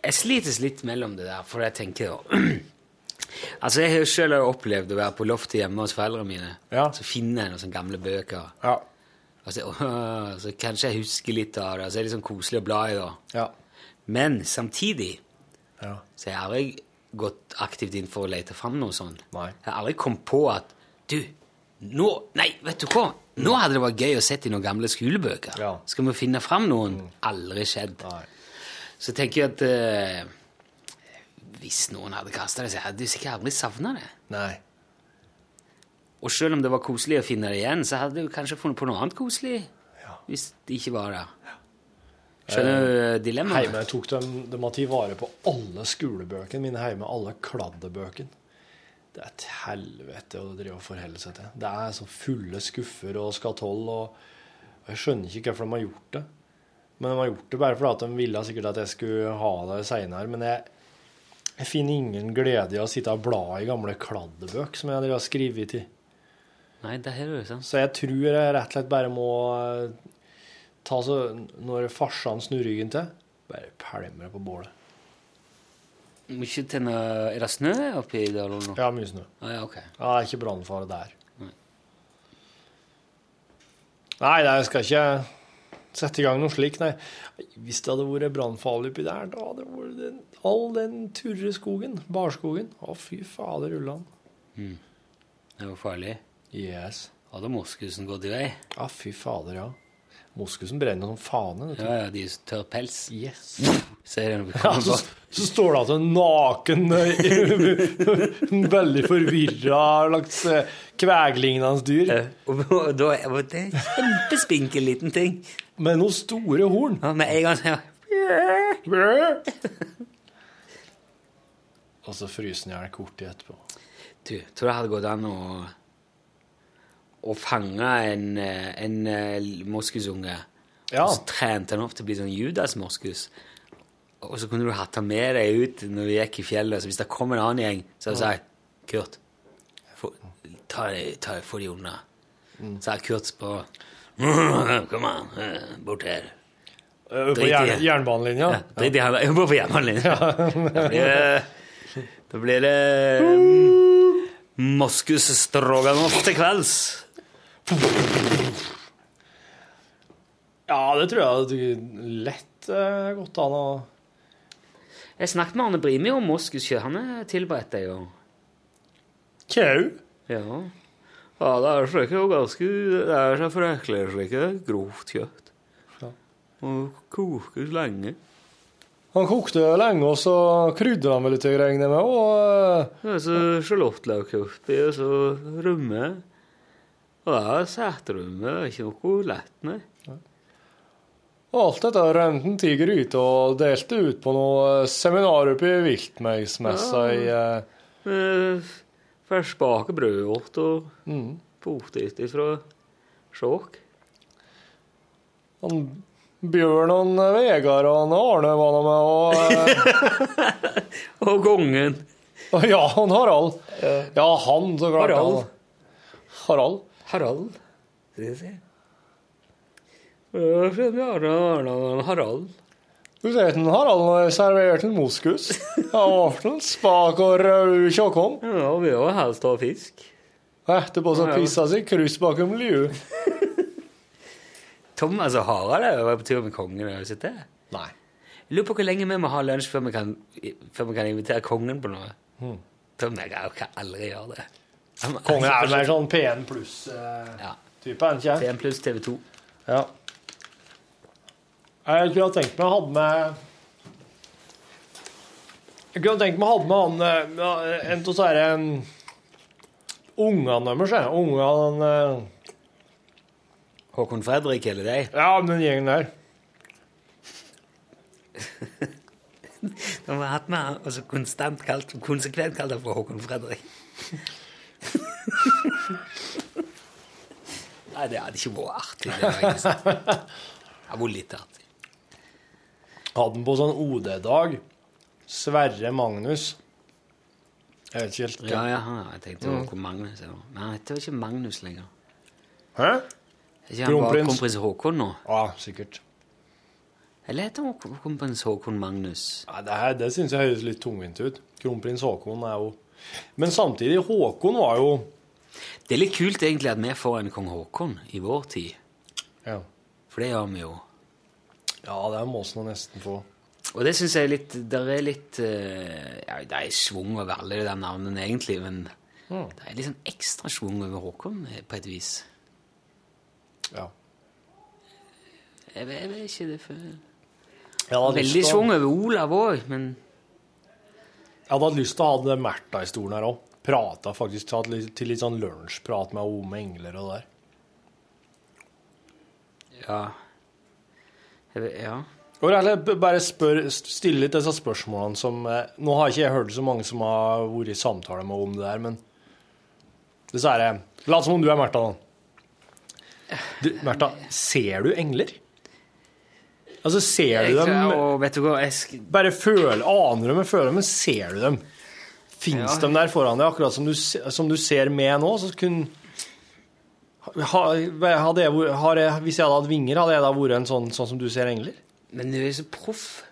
Speaker 2: Jeg slites litt mellom det der, for jeg tenker jo Altså, jeg har jo selv opplevd å være på loftet hjemme hos foreldrene mine. Så finner jeg noen sånne gamle bøker. Og så, «Åh», så kanskje jeg husker litt av det. og Så er det litt sånn koselig å bla i. da.
Speaker 5: Ja.
Speaker 2: Men samtidig
Speaker 5: Ja.
Speaker 2: så har jeg gått aktivt inn for å lete fram noe sånt. Jeg har aldri kommet på at Du, nå Nei, vet du hva? Nå hadde det vært gøy å sette i noen gamle skolebøker. Skal vi finne fram noen? Aldri skjedd. Så tenker jeg at eh, hvis noen hadde kasta det, så hadde du sikkert aldri savna det.
Speaker 5: Nei.
Speaker 2: Og selv om det var koselig å finne det igjen, så hadde du kanskje funnet på noe annet koselig hvis det ikke var der. Skjønner du dilemmaet?
Speaker 5: Heime tok de, de måtte vare på alle skolebøkene mine hjemme, alle kladdebøkene. Det er et helvete å drive og forholde seg til. Det er så fulle skuffer og skatoll, og jeg skjønner ikke hvorfor de har gjort det. Men de har gjort det bare fordi at de ville sikkert at jeg skulle ha det seinere. Men jeg, jeg finner ingen glede i å sitte og bla i gamle kladdebøker som jeg har skrevet i.
Speaker 2: Nei, det her er jo sant.
Speaker 5: Så jeg tror jeg rett og slett bare må eh, ta så Når farsan snur ryggen til, bare pælmer det på bålet.
Speaker 2: Må ikke tenne Er det snø oppi der nå?
Speaker 5: Ja, mye snø.
Speaker 2: Ah, ja, ok.
Speaker 5: Ja, det er ikke brannfare der. Nei, nei, jeg skal ikke sette i gang noe slikt, nei. Hvis det hadde vært brannfarlig oppi der, da hadde det vært den, all den turre skogen, barskogen. Å, fy fader, Ulland.
Speaker 2: Mm. Det var farlig.
Speaker 5: Yes.
Speaker 2: Hadde moskusen gått i vei?
Speaker 5: Ja, fy fader, ja. Moskusen brenner som faen. vet du.
Speaker 2: Ja, ja, de som tørr pels.
Speaker 5: Yes.
Speaker 2: Ser jeg når vi
Speaker 5: Ja,
Speaker 2: kommer
Speaker 5: så,
Speaker 2: bort.
Speaker 5: så står det at en naken, en veldig forvirra slags eh, kveglignende dyr.
Speaker 2: Og da var det en kjempespinkel liten ting.
Speaker 5: Med noen store horn.
Speaker 2: Ja, med en gang så
Speaker 5: Og så fryser den i hjel kort tid etterpå.
Speaker 2: Du, tror det hadde gått an å å fange en, eh, en eh, moskusunge.
Speaker 5: Ja.
Speaker 2: Og så trente han opp til å bli sånn Judas-moskus. Og så kunne du hatt han med deg ut når du gikk i fjellet. Så hvis det kom en annen gjeng, så hadde jeg sagt Kurt, få, ta, de- ta, få de unna. Så har Kurt på Kom an, eh, bort her.
Speaker 5: Eh, På
Speaker 2: Drit i
Speaker 5: jern,
Speaker 2: det.
Speaker 5: jernbanelinja.
Speaker 2: Ja, Drit i han. Jeg må på hjemmelinje. Da blir det, da blir det mm, moskus stroganoff til kvelds.
Speaker 5: Ja, det tror jeg hadde lett eh, gått an å
Speaker 2: Jeg snakket med Arne Brimi om moskuskjøtt. Han er tilberedt det i år.
Speaker 5: Kjau.
Speaker 2: Ja. ja, det er slik jo ganske Det er så frekler slik det er grovt kjøtt.
Speaker 5: Ja.
Speaker 2: Og kokes lenge.
Speaker 5: Han kokte lenge, og så krydra han vel litt, regner jeg med. Og eh,
Speaker 2: Det er så sjalottløk oppi, og så rømme. Og det er setrumme, det er ikke noe lett, nei.
Speaker 5: Og alt dette rømte han til gryta og delte ut på noe eh, seminar oppe i viltmeigsmessa i eh,
Speaker 2: Med Ferskbake brød vårt og
Speaker 5: mm.
Speaker 2: poteter fra Skjåk.
Speaker 5: han Bjørn og han Vegard og han Arne var nå med, og eh,
Speaker 2: Og kongen.
Speaker 5: og Ja, han Harald. Ja, han, så klart.
Speaker 2: Harald.
Speaker 5: han. Harald.
Speaker 2: Harald. Skal vi se. Øh, Arne, Arne, Arne, Harald.
Speaker 5: Du ser den Harald har servert en moskus. Han var en spak og rød tjåkom.
Speaker 2: Ja, vi har helst av fisk.
Speaker 5: Etterpå så
Speaker 2: Ja, ja.
Speaker 5: pissa seg kryss bakom liu.
Speaker 2: Thomas og altså, Harald er jo på tur med kongen. Har du sett det?
Speaker 5: Nei.
Speaker 2: Jeg lurer på hvor lenge vi må ha lunsj før vi kan, før vi kan invitere kongen på noe. Thomas jeg kan aldri gjøre det. Han-
Speaker 5: Kongen er vel mer sånn P1 pluss-type,
Speaker 2: Ja.
Speaker 5: han ikke
Speaker 2: P1 pluss TV 2.
Speaker 5: Ja. Jeg kunne ha tenkt meg å ha med Jeg kunne ha tenkt meg å ha med han eh, ja, en av disse ungene deres. jeg. Ungene eh,
Speaker 2: Håkon Fredrik eller deg?
Speaker 5: Ja, den gjengen der.
Speaker 2: De har hatt meg og så konstant kalt, konsekvent kalt ham for Håkon Fredrik. Nei, det hadde ikke vært artig. Det, var ikke sant. det hadde vært litt artig.
Speaker 5: Hadde den på sånn OD-dag. Sverre Magnus. Jeg vet ikke helt
Speaker 2: Ja, ja, jeg tenkte det var
Speaker 5: Mm.
Speaker 2: Håkon Magnus. ja. Men han heter jo ikke Magnus lenger.
Speaker 5: Hæ?
Speaker 2: Er ikke han bare
Speaker 5: Kronprins.
Speaker 2: kronprins Håkon nå?
Speaker 5: Ja, sikkert.
Speaker 2: Eller heter han Håkon- kronprins Håkon Magnus?
Speaker 5: Nei, det her, det syns jeg høres litt tungvint ut. Kronprins Haakon er jo Men samtidig, Håkon var jo
Speaker 2: Det er litt kult egentlig at vi får en kong Håkon i vår tid.
Speaker 5: Ja,
Speaker 2: For det gjør vi jo.
Speaker 5: ja det må vi nesten få.
Speaker 2: Og det syns jeg er litt Det er litt eh, ja, Det er schwung over alle de der navnene, egentlig, men
Speaker 5: Mm.
Speaker 2: det er litt sånn ekstra schwung over Håkon, eh, på et vis.
Speaker 5: Ja.
Speaker 2: Jeg vet, jeg vet ikke det før
Speaker 5: Jeg hadde lyst
Speaker 2: Veldig
Speaker 5: til å-
Speaker 2: schwung over Olav òg, men
Speaker 5: Jeg hadde hatt lyst til å ha den Märtha i stolen her òg. Prata faktisk tatt litt- til litt sånn lunsjprat med henne om engler og det der.
Speaker 2: Ja. Jeg vet, ja.
Speaker 5: Og Erle, b- bare spør, st- stille litt disse spørsmålene som eh, Nå har ikke jeg hørt så mange som har vært i samtale med henne om det der, men Dessverre. Lat som om du er Märtha, da. Du, Märtha, ser du engler? Altså, ser du
Speaker 2: Jeg-
Speaker 5: dem
Speaker 2: og vet du hva, jeg sk
Speaker 5: Bare føl, aner du dem, føler dem, men ser du dem? Fins
Speaker 2: Ja.
Speaker 5: de der foran deg, akkurat som du, se- som du ser med nå? Så kunne ha, hadde jeg, vært- har jeg, Hvis jeg hadde hatt vinger, hadde jeg da vært en sånn, sånn som du ser engler?
Speaker 2: Men du er så proff.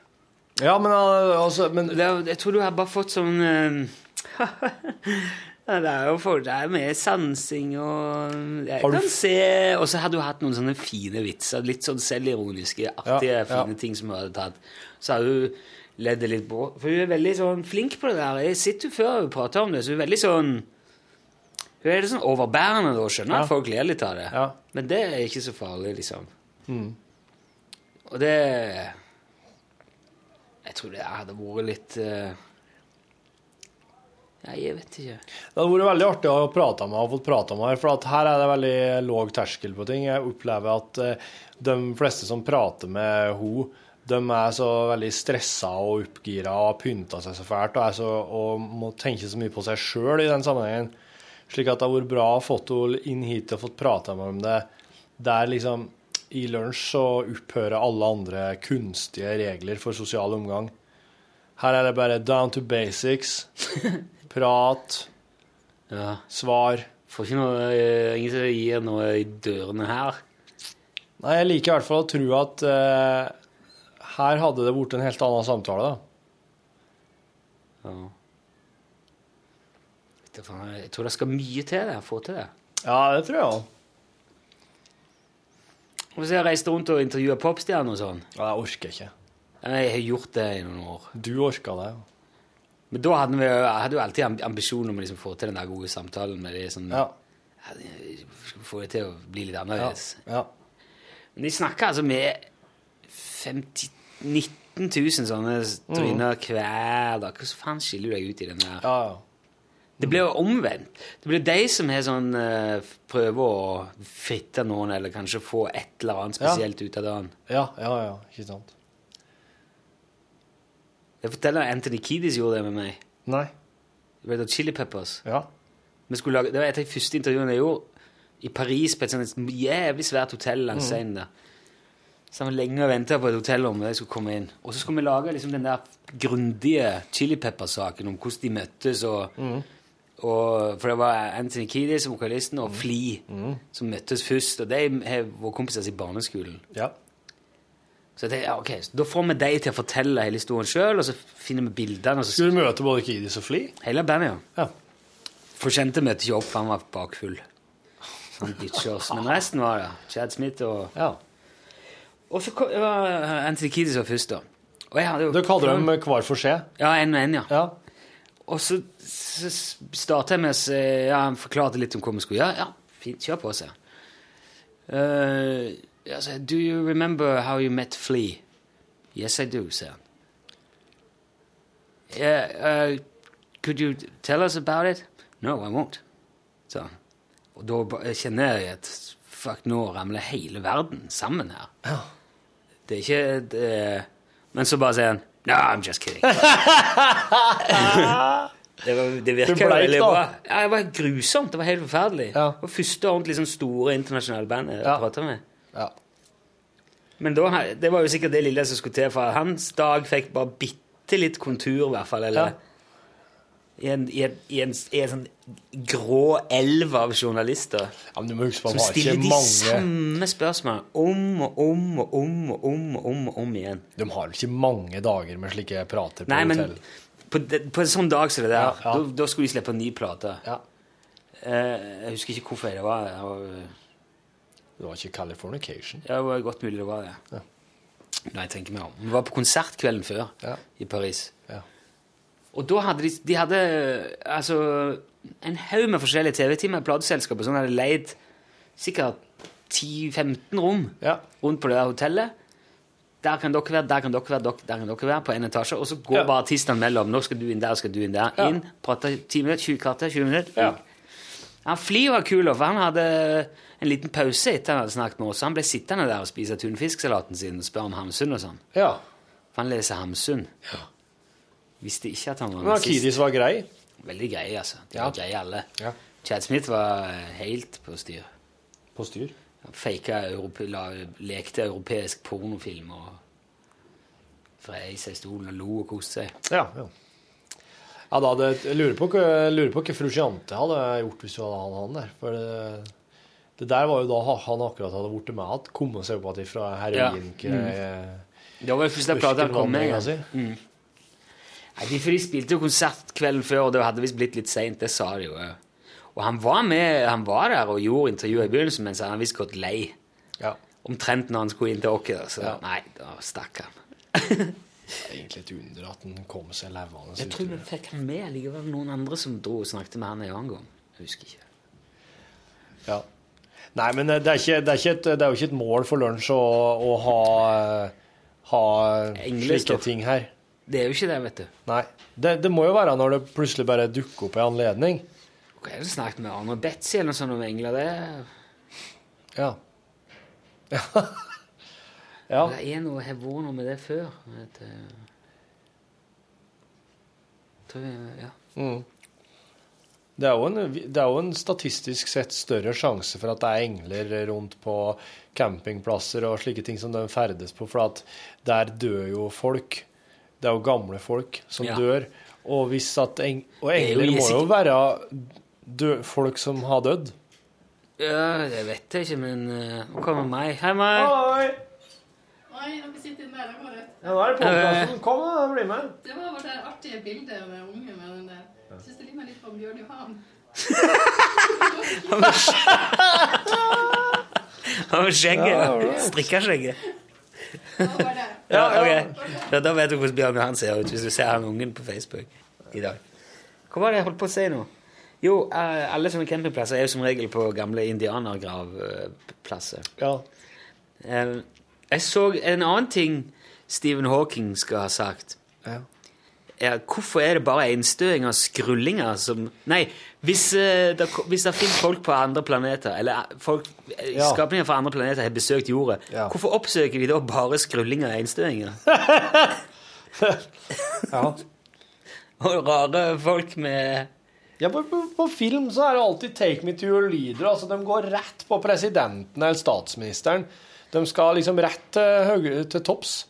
Speaker 5: Ja, men uh, altså men
Speaker 2: det, er- Jeg tror du har bare fått sånn eh, ja, Det er jo for det er mer sansing og jeg
Speaker 5: Har du
Speaker 2: kan
Speaker 5: f-
Speaker 2: se, Og så har du hatt noen sånne fine vitser, litt sånn selvironiske, artige,
Speaker 5: Ja, ja.
Speaker 2: fine ting som du hadde tatt. Så har du ledd det litt på. For hun er veldig sånn flink på det der. Jeg sitter jo før hun prater om det, så hun er veldig sånn Hun er litt sånn overbærende da, skjønner
Speaker 5: Ja.
Speaker 2: at folk ler litt av det. Men det er ikke så farlig, liksom.
Speaker 5: Mm.
Speaker 2: Og det Jeg tror det hadde vært litt eh, Nei, jeg vet ikke.
Speaker 5: Det hadde vært veldig artig å prate med og fått prate med her, for at her er det veldig låg terskel på ting. Jeg opplever at eh, de fleste som prater med ho, de er så veldig stressa og oppgira og har pynta seg så fælt og, er så, og må tenke så mye på seg sjøl i den sammenhengen. Slik at det hadde vært bra å fått henne inn hit og fått prata med henne om det. Der liksom i lunsj så opphører alle andre kunstige regler for sosial omgang. Her er det bare down to basics. Prat. Svar.
Speaker 2: Får ikke noe, eh, ingen som gir noe i dørene her.
Speaker 5: Nei, jeg liker i hvert fall å tro at eh, her hadde det blitt en helt annen samtale, da.
Speaker 2: Vet du faen, Jeg tror det skal mye til det, få til det.
Speaker 5: Ja, det tror jeg òg.
Speaker 2: Og så har jeg reist rundt og intervjua popstjerner og sånn.
Speaker 5: Ja, jeg orker ikke.
Speaker 2: Jeg har gjort det i noen år.
Speaker 5: Du orka det, ja.
Speaker 2: Men da hadde vi jeg hadde jo alltid amb- ambisjon om å liksom få til den der gode samtalen med de sånn
Speaker 5: Ja.
Speaker 2: Ja, de- Få det til å bli litt annerledes.
Speaker 5: Ja.
Speaker 2: Men de snakker altså med 50, 19 000 sånne tryner
Speaker 5: Mm.
Speaker 2: hver dag. Hvordan faen skiller du deg ut i den her? Det blir jo omvendt. Det blir de som har sånn eh, prøver å fritte noen, eller kanskje få et eller annet
Speaker 5: Ja.
Speaker 2: spesielt ut av dagen.
Speaker 5: Ja, ja, ja. Ikke sant.
Speaker 2: Jeg forteller Anthony Kiedis gjorde det med meg.
Speaker 5: Nei.
Speaker 2: Red Hot Chili Peppers.
Speaker 5: Ja.
Speaker 2: Vi skulle lage, det var et av de første intervjuene jeg gjorde i Paris, på et sånt jævlig svært hotell langs
Speaker 13: Mm.
Speaker 2: scenen der. Så han var lenge og ventet på et hotell om jeg skulle komme inn. Og så skulle vi lage liksom den der grundige Chili Peppers-saken om hvordan de møttes og, og For det var Anthony Kiedis, vokalisten, og Flea som møttes først. Og de er våre kompiser i barneskolen.
Speaker 5: Ja.
Speaker 2: Så jeg tenkte, ja, ok, så da får vi de til å fortelle hele historien sjøl, og så finner vi bildene. og så-
Speaker 5: Skulle du møte både Kidis og Fli?
Speaker 2: Hele bandet,
Speaker 5: ja.
Speaker 2: For kjente møtte ikke opp, for han var bakfull. Så han ditcha oss. Men resten var det. Chad Smith og Og så kom, det var eh, Anthony Kiedis var først, da. Og jeg hadde jo
Speaker 5: Dere kaller dem hver for seg?
Speaker 2: Ja, en og en, ja. Og så, så startet jeg med å si ja, Han forklarte litt om hva vi skulle gjøre. Ja, fint. Kjør på, sier han. Eh, jeg sa, Do you remember how you met Flea? Yes, I do, sier han. Yeah, uh, could you tell us about it? No, I won't. sa han. Og da ba- jeg kjenner jeg at fuck, nå ramler hele verden sammen her. Det er ikke det, Men så bare sier han No, I'm just kidding. det, var, det
Speaker 13: Du
Speaker 2: virker jo
Speaker 13: bleik,
Speaker 2: veldig
Speaker 13: da.
Speaker 2: bra. Ja, det var grusomt. Det var helt forferdelig. Det var første ordentlig sånn store internasjonale band jeg pratet med. Men da, det var jo sikkert det lille som skulle til, for hans dag fikk bare bitte litt kontur, i hvert fall. Eller i, en, i, en, i, en, i en sånn grå elv av journalister
Speaker 5: Ja, men du må huske på,
Speaker 2: som
Speaker 5: han har
Speaker 2: stiller
Speaker 5: ikke
Speaker 2: de
Speaker 5: mange
Speaker 2: samme spørsmålene om og om og om og om og om, og om igjen.
Speaker 5: De har ikke mange dager med slike prater på
Speaker 2: Nei, men
Speaker 5: hotell.
Speaker 2: på, de, på en sånn dag som det der, Da, da skulle de slippe en ny plate. Eh, jeg husker ikke hvorfor det var. Det var,
Speaker 5: Det var ikke Californication.
Speaker 2: ja, det var godt mulig det var det. Nei, jeg tenker meg om. Vi var på konsert kvelden før i Paris. Og da hadde de, de hadde, altså, en haug med forskjellige TV-timer, plateselskaper, som hadde leid sikkert 10-15 rom rundt på det der hotellet. Der kan dere være, der kan dere være, dok- der kan dere være, på en etasje. Og så går bare artistene mellom. Nå skal du inn der, skal du inn der.
Speaker 13: Ja.
Speaker 2: Inn, prater 10 minutter, 20 kvarter, 20 minutter. Han Flir var kul, for han hadde en liten pause etter han hadde snakket med oss. Han ble sittende der og spise tunfisksalaten sin og spørre om Hamsun og sånn. For han leser Hamsun. Visste ikke at han var
Speaker 5: Men Akiris var grei.
Speaker 2: Veldig grei, altså. De var greie alle. Chad Smith var eh, helt på styr.
Speaker 5: På styr?
Speaker 2: Faka europe, la, lekte europeisk pornofilm og frei seg i stolen og lo og koste seg.
Speaker 5: Ja, ja. ja da hadde, jeg lurer på, hva- jeg lurer på hva fru Jeante hadde gjort hvis hun hadde hatt han der. For det, det der var jo da ha- han akkurat hadde blitt med igjen. Kommet seg opp igjen fra heroin.
Speaker 2: Ja. Mm. Det var vel første plate han kom med. ja. Mm. Nei, de, for de spilte jo konsert kvelden før, og det hadde visst blitt litt seint. Det sa de jo. ja. Og han var med, han var der og gjorde intervjuet i begynnelsen, men så hadde han visst gått lei. Omtrent når han skulle inn til oss. da, Så nei, da stakk han.
Speaker 5: Egentlig et under at han kom seg levende.
Speaker 2: Jeg
Speaker 5: ut.
Speaker 2: tror vi fikk han med likevel. Noen andre som dro og snakket med han en annen gang. Jeg husker ikke.
Speaker 5: Ja. Nei, men eh, det er, ikke, det, er ikke et, det er jo ikke et mål for lunsj å, å ha, eh, ha slike
Speaker 2: Englestoff.
Speaker 5: ting her.
Speaker 2: Det er jo ikke det, vet du.
Speaker 5: Nei. Det, det må jo være når det plutselig bare dukker opp en anledning.
Speaker 2: Hva er det snakket med Arne Betzy eller noe sånt om engler? Det
Speaker 5: Ja.
Speaker 2: Det er noe jeg har vært noe med det før. Vet du. Tror jeg, ja.
Speaker 5: Mm. Det er, jo en, det er jo en statistisk sett større sjanse for at det er engler rundt på campingplasser og slike ting som de ferdes på, for at der dør jo folk. Det er jo gamle folk som
Speaker 2: Ja.
Speaker 5: dør. Og, hvis at eng, og
Speaker 2: Det er jo
Speaker 5: engler må jo
Speaker 2: sikkert-
Speaker 5: være dø, folk som har dødd.
Speaker 2: ja, det vet jeg ikke, men eh, Nå kommer meg. Hei, meg.
Speaker 5: Hei!
Speaker 16: Nei, dere sitter inne der. Jeg går ut.
Speaker 5: Ja, nå er det
Speaker 2: Eh,
Speaker 5: podcasten. Kom, da, bli med.
Speaker 16: Det var bare det artige bildet av den unge med den der. Jeg syns det ligner litt på Bjørn Johan.
Speaker 2: Over skjegget.
Speaker 16: Ja,
Speaker 2: Ja,
Speaker 16: all right.
Speaker 2: Strikka skjegget. ja, ok. ja, da vet du hvordan Bjørn Johan ser ut, hvis du ser han ungen på Facebook i dag. Hva var det jeg holdt på å si nå? Jo, eh, alle sånne campingplasser er jo som regel på gamle indianergravplasser.
Speaker 5: Ja.
Speaker 2: Eh, Jeg så en annen ting Stephen Hawking skal ha sagt.
Speaker 5: Ja.
Speaker 2: Er, hvorfor er det bare innstøinger og skrullinger som Nei, hvis, eh, det, ko- hvis det finnes folk på andre planeter, eller eh, folk, eh,
Speaker 5: Ja.
Speaker 2: skapninger fra andre planeter har besøkt jorda, hvorfor oppsøker de da bare skrullinger og innstøinger?
Speaker 5: Ja.
Speaker 2: Og rare folk med
Speaker 5: Ja, på, på, på film så er det alltid 'Take me to your leader'. Altså, de går rett på presidenten eller statsministeren. De skal liksom rett til, høyre, til topps.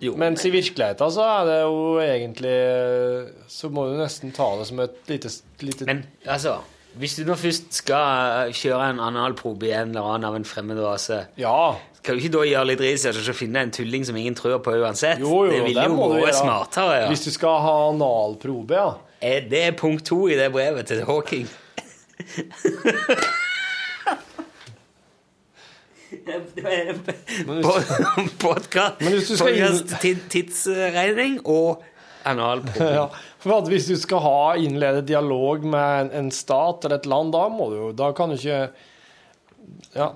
Speaker 5: Mens i virkeligheten så er det jo egentlig eh, Så må du nesten ta det som et lite, lite
Speaker 2: Men altså, hvis du nå først skal eh, kjøre en analprobe i en eller annen av en fremmed rase Skal du ikke da gjøre litt research og så finne en tulling som ingen tror på uansett?
Speaker 5: Jo,
Speaker 2: det ville jo
Speaker 5: må du
Speaker 2: vært
Speaker 5: gjøre.
Speaker 2: smartere. Ja.
Speaker 5: Hvis du skal ha analprobe, ja.
Speaker 2: Er det er punkt to i det brevet til Hawking. Podkast,
Speaker 5: Men hvis du skal inn-
Speaker 2: tidsregning og analprobe.
Speaker 5: Ja, for at hvis du skal ha innlede dialog med en, en stat eller et land, da må du jo Da kan du ikke Ja.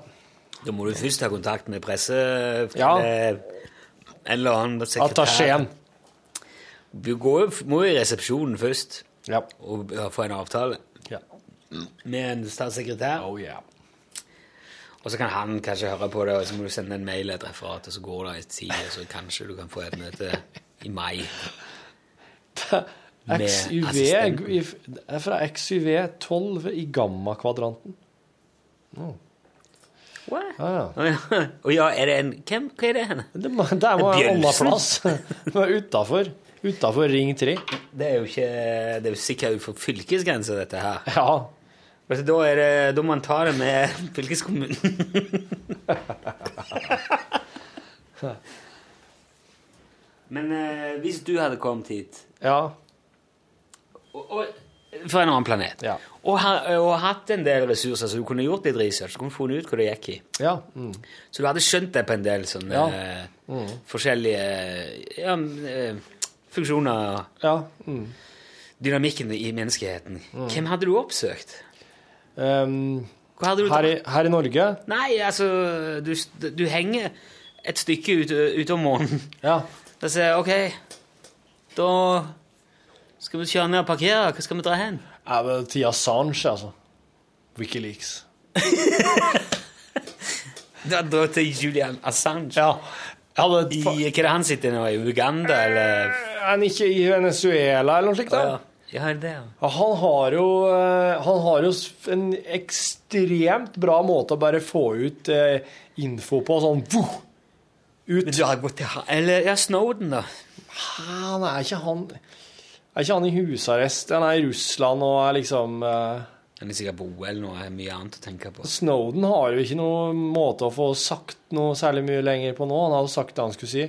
Speaker 2: Da må du først ha kontakt med presse...
Speaker 5: Ja.
Speaker 2: eh, En eller annen sekretær.
Speaker 5: Attachéen.
Speaker 2: Du går, jo- må jo i resepsjonen først
Speaker 5: ja.
Speaker 2: og ja, få en avtale
Speaker 5: Ja.
Speaker 2: med en statssekretær. Og så kan han kanskje høre på det, og så må du sende en mail et referat, og så går det en tid, og så kanskje du kan få et møte i mai. Med
Speaker 5: XYV
Speaker 2: assistenten.
Speaker 5: i- Det er fra XYV12 i gammakvadranten. Oh. Ja, ja.
Speaker 2: Og ja, er det en Hvem, hva er det henne?
Speaker 5: Det må, der må jeg ha en annen plass. Det var utafor. Utafor Ring 3.
Speaker 2: Det er jo ikke Det er jo sikkert utenfor fylkesgrensa, dette her.
Speaker 5: Ja.
Speaker 2: Altså, da, er det, da må man ta det med fylkeskommunen. Men eh, hvis du hadde kommet hit
Speaker 5: Ja.
Speaker 2: og, og fra en annen planet. Og, ha, og hatt en del ressurser, så du kunne gjort litt research. Du kunne funnet ut hva det gikk i.
Speaker 5: Mm.
Speaker 2: Så du hadde skjønt det på en del sånne
Speaker 5: Ja.
Speaker 2: eh, forskjellige ja, eh, funksjoner.
Speaker 5: Mm.
Speaker 2: Dynamikken i menneskeheten. Hvem hadde du oppsøkt? Hvor hadde du
Speaker 5: her, i, her i Norge
Speaker 2: Nei, altså, du, du henger et stykke ut, eh, ut om månen.
Speaker 5: Ja.
Speaker 2: Da sier jeg, ok, da skal vi kjøre ned og parkere. Hva skal vi dra hen?
Speaker 5: er det til Assange, altså. Wikileaks.
Speaker 2: Da dra til Julian Assange. I, hva er det han sitter nå? I Uganda, eller?
Speaker 5: Er han ikke i Venezuela eller noe slikt? da?
Speaker 2: Ja, er det det, ja.
Speaker 5: Ja, Han har jo, eh, han har jo s- en ekstremt bra måte å bare få ut eh, info på, sånn vuh, ut. Men
Speaker 2: du har gått til Eller ja, Snowden, da?
Speaker 5: Han er ikke han Er ikke han i husarrest? Han er i Russland og er liksom eh,
Speaker 2: Han er sikkert på OL nå, er mye annet å tenke på.
Speaker 5: Snowden har jo ikke noen måte å få sagt noe særlig mye lenger på nå. Han har jo sagt det han skulle si.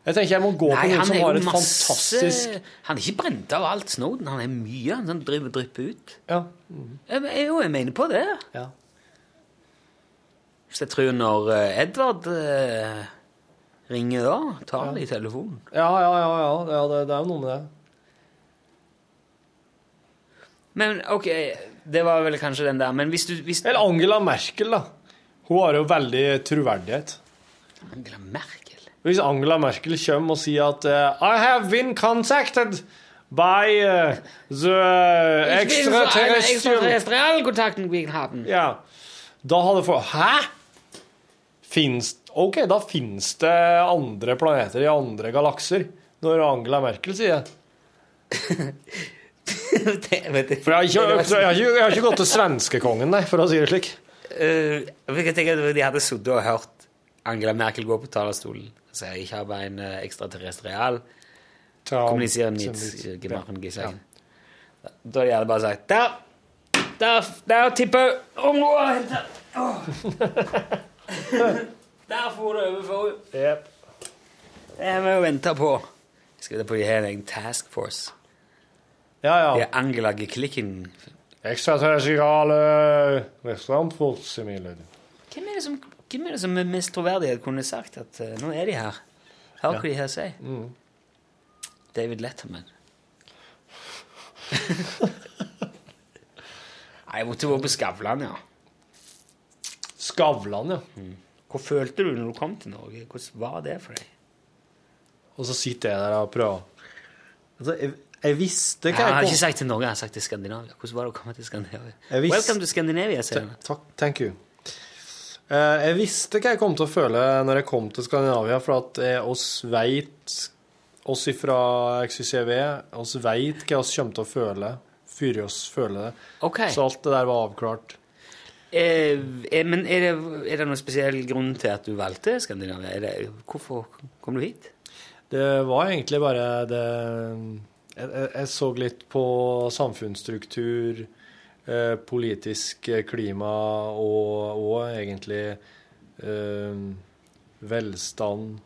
Speaker 5: Jeg tenker jeg må gå på noen som har et fantastisk
Speaker 2: Han er ikke brent av alt, Snowden. Han er mye, han sånn driver drypper ut.
Speaker 5: Ja.
Speaker 2: Jeg, jeg, jo, jeg mener på det.
Speaker 5: Ja.
Speaker 2: Så jeg tror når eh, Edvard eh, ringer da, tar han i telefonen.
Speaker 5: Ja, ja, ja. ja, ja det, det er jo noe med det.
Speaker 2: Men ok, det var vel kanskje den der, men hvis du... Hvis
Speaker 5: Eller Angela Merkel, da. Hun har jo veldig troverdighet.
Speaker 2: Angela Merkel?
Speaker 5: Hvis Angela Merkel kommer og sier at eh, I have been contacted by eh, the extraterrestrial
Speaker 2: kontakten vi har.
Speaker 5: Ja. Da hadde folk Hæ?! Finnes, OK, da fins det andre planeter i andre galakser, når Angela Merkel sier det. For jeg har ikke, jeg har ikke, jeg har ikke gått til svenskekongen, nei, for å si det slik.
Speaker 2: Eh, jeg tenker at De hadde sittet og hørt Angela Merkel gå på talerstolen og si jeg har bare en eh, ekstraterrestrial. Kommuniserer mit
Speaker 13: Sendwich.
Speaker 2: gemachen Gesang. Da hadde jeg bare sagt Der! Der, der tipper området! Der for du over for
Speaker 5: Yep.
Speaker 2: Det må vi vente på. Skal vi på de her en task force?
Speaker 5: Ja, ja.
Speaker 2: Det er Angela Geklikken.
Speaker 5: Ekstraterrestriale restaurantfortsimilid.
Speaker 2: Hvem er det som, hvem er det som med mest troverdighet kunne sagt at eh, nå er de her? Hør hva de her sier. David Letterman. Nei, jeg måtte være på Skavlan, ja.
Speaker 5: Skavlan, ja.
Speaker 2: Hva følte du når du kom til Norge? Hvordan var det for deg?
Speaker 5: Og så sitter jeg der og prøver. Altså, jeg, jeg visste
Speaker 2: Jeg
Speaker 5: hva
Speaker 2: har
Speaker 5: jeg
Speaker 2: ikke
Speaker 5: kom
Speaker 2: sagt til Norge, jeg har sagt til Skandinavia. Hvordan var det å komme til Skandinavia?
Speaker 5: Jeg visste-
Speaker 2: Welcome to Scandinavia, sier han.
Speaker 5: Takk, thank you. Eh, jeg visste hva jeg kom til å føle når jeg kom til Skandinavia, for at eh, oss veit oss ifra XYCV, oss veit hva oss kommer til å føle før oss føler det.
Speaker 2: Ok.
Speaker 5: Så alt det der var avklart.
Speaker 2: Eh, eh, men er det, er det noen spesiell grunn til at du valgte Skandinavia? Er det, hvorfor kom du hit?
Speaker 5: Det var egentlig bare det Jeg, jeg, jeg så litt på samfunnsstruktur, eh, politisk eh, klima og, og egentlig eh, velstand,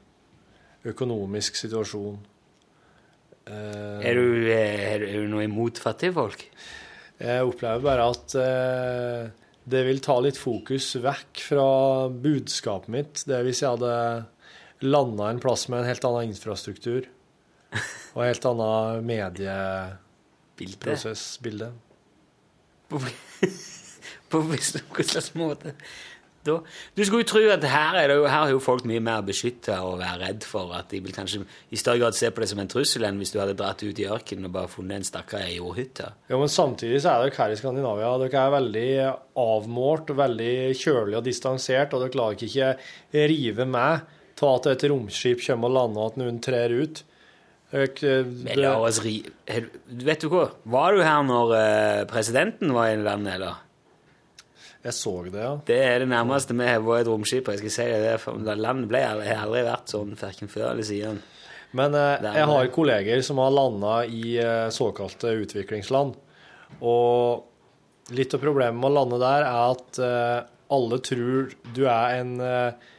Speaker 5: økonomisk situasjon. Eh,
Speaker 2: Er du, eh, er du, er du noe imot fattige folk?
Speaker 5: Jeg opplever bare at eh, det vil ta litt fokus vekk fra budskapet mitt. Det er hvis jeg hadde landa en plass med en helt annen infrastruktur og en helt annen medieprosessbilde.
Speaker 2: På, på hvilken slags måte? Da, du skulle jo tro at her er, det jo, her er jo folk mye mer beskytta og være redd for at de vil kanskje i større grad se på det som en trussel enn hvis du hadde dratt ut i ørkenen og bare funnet en stakkar i jordhytta.
Speaker 5: Ja, men samtidig så er dere her i Skandinavia dere er veldig avmålt og veldig kjølig og distansert, og dere lar dere ikke rive med ta at et romskip kommer og lander, og at noen trer ut. Dere,
Speaker 2: Men la oss ri... Er du- Vet du hva? Var du her når eh, presidenten var i landet, eller?
Speaker 5: Jeg så det, ja.
Speaker 2: Det er det nærmeste vi har vært et romskip. og Jeg skal si deg det, for landet ble, har aldri vært sånn, verken før eller siden.
Speaker 5: Men eh, jeg har kolleger som har landa i eh, såkalte utviklingsland. Og litt av problemet med å lande der er at eh, alle tror du er en eh,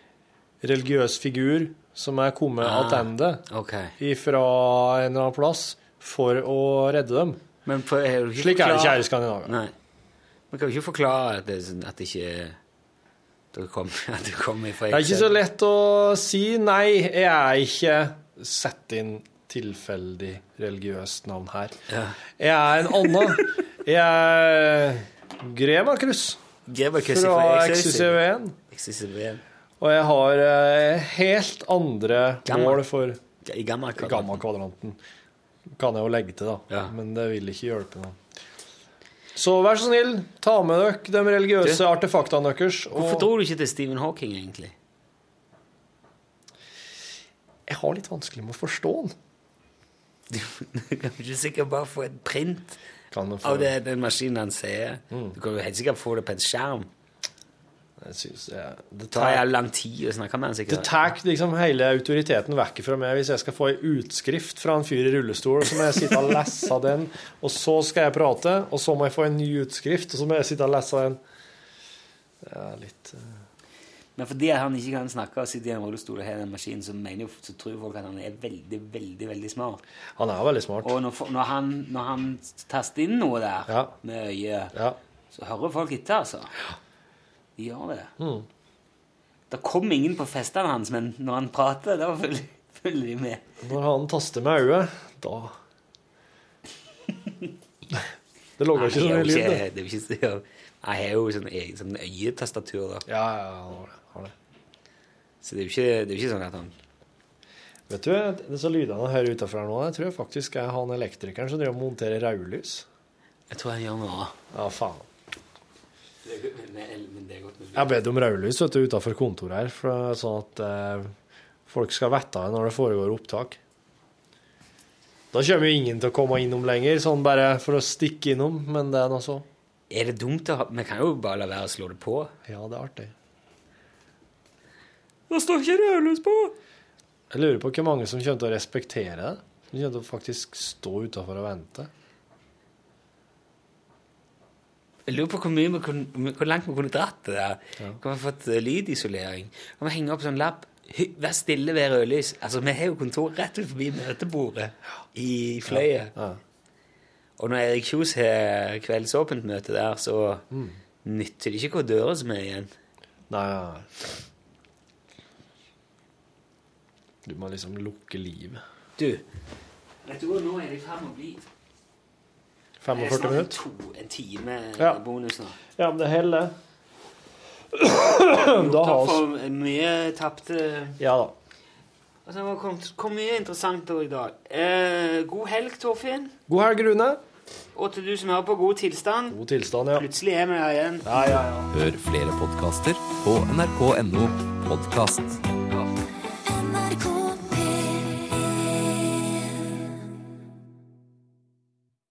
Speaker 5: religiøs figur som er kommet
Speaker 2: Ah,
Speaker 5: attende
Speaker 2: ok.
Speaker 5: ifra en eller annen plass for å redde dem.
Speaker 2: Men for- er du ikke
Speaker 5: Slik er
Speaker 2: forklare-
Speaker 5: det ikke her i Skandinavia.
Speaker 2: Nei. Man kan jo ikke forklare at det, er sånn- at det ikke er- det kommer at det kommer fra
Speaker 5: Det er ikke så lett å si nei, jeg er ikke Sett inn tilfeldig religiøst navn her.
Speaker 2: Ja.
Speaker 5: Jeg er en annen. Jeg er Grebakrus
Speaker 2: Grebakrus
Speaker 5: fra
Speaker 2: fra
Speaker 5: XCV1.
Speaker 2: XCV1.
Speaker 5: E Og jeg har eh, helt andre
Speaker 2: Gamma.
Speaker 5: mål for
Speaker 2: I gammakvadranten.
Speaker 5: gammakvadranten. Kan jeg jo legge til, da. Men det vil ikke hjelpe noe. Så vær så snill, ta med dere de religiøse
Speaker 2: Du,
Speaker 5: artefaktene deres.
Speaker 2: Hvorfor dro du ikke til Stephen Hawking, egentlig?
Speaker 5: Jeg har litt vanskelig med å forstå den.
Speaker 2: Du kan jo ikke sikkert bare få et print
Speaker 5: Kan man få-
Speaker 2: av det den maskinen han sier.
Speaker 5: Mm.
Speaker 2: Du kan jo helt sikkert få det på en skjerm.
Speaker 5: Jeg synes jeg, det
Speaker 2: tar jævlig lang tid å snakke med han,
Speaker 5: Det
Speaker 2: sikkert.
Speaker 5: tar liksom hele autoriteten vekk fra meg hvis jeg skal få ei utskrift fra en fyr i rullestol, og så må jeg sitte og lese den, og så skal jeg prate, og så må jeg få en ny utskrift, og så må jeg sitte og lese den. Det er litt eh,
Speaker 2: Men fordi han ikke kan snakke og sitter i en rullestol og har den maskinen, så, mener jo, så tror folk at han er veldig, veldig veldig smart.
Speaker 5: Han er veldig smart.
Speaker 2: Og når, fo- når, han, når han taster inn noe der med øyet, så hører folk etter, altså. De gjør det. Det kom ingen på festene hans, men når han prater, da følger, følger de med.
Speaker 5: Når han taster med øyet, da Det logger ikke
Speaker 2: Nei,
Speaker 5: så mye
Speaker 2: jeg
Speaker 5: lyd,
Speaker 2: er jo
Speaker 5: det.
Speaker 2: ikke- sånn det. er jo ikke så- Jeg har jo sånn, egen- sånn øyetastatur, da.
Speaker 5: Ja, ja, har det.
Speaker 2: Så det er jo ikke, det er jo ikke sånn at han
Speaker 5: Vet du, disse lydene jeg hører utenfor her nå, jeg tror jeg faktisk er han elektrikeren som driver og monterer raudlys.
Speaker 2: Jeg tror jeg gjør noe.
Speaker 5: Ja, faen.
Speaker 2: Men det er godt mulig.
Speaker 5: Jeg bedt om raudlys vet du, utenfor kontoret her, for, sånn at eh, folk skal vite det når det foregår opptak. Da kommer jo ingen til å komme innom lenger, sånn bare for å stikke innom, men det er nå så.
Speaker 2: Er det dumt å ha Vi kan jo bare la være å slå det på.
Speaker 5: Ja, det er artig.
Speaker 2: Da står ikke rødlys på!
Speaker 5: Jeg lurer på hvor mange som kommer til å respektere det. Som kommer til å faktisk stå utenfor og vente.
Speaker 2: Jeg lurer på hvor, mye vi kunne, hvor langt vi kunne dratt det der. Hvor vi har fått eh, lydisolering. Kan vi henge opp sånn lapp «Hy- Vær stille ved rødlys. Altså, vi har jo kontor rett ut forbi møtebordet i Fløyet. Og når Erik Kjos har kveldsåpent møte der, så
Speaker 5: Mm.
Speaker 2: nytter det ikke hvor døra som er igjen.
Speaker 5: Nei, nei, nei. Du må liksom lukke livet.
Speaker 2: Du, vet du hva, nå er det i ferd med å bli
Speaker 5: 45 minutter.
Speaker 2: To, en time
Speaker 5: Ja.
Speaker 2: bonus nå.
Speaker 5: Ja, men det holder. da har vi
Speaker 2: For mye tapte
Speaker 5: Ja da.
Speaker 2: Altså, det kom, kom mye interessant over i dag. Eh, god helg, Torfinn.
Speaker 5: God helg, Rune.
Speaker 2: Og til du som hører på, god tilstand.
Speaker 5: God tilstand, ja.
Speaker 2: Plutselig er vi her igjen.
Speaker 5: Ja, ja, ja.
Speaker 17: Hør flere podkaster på nrk.no podkast.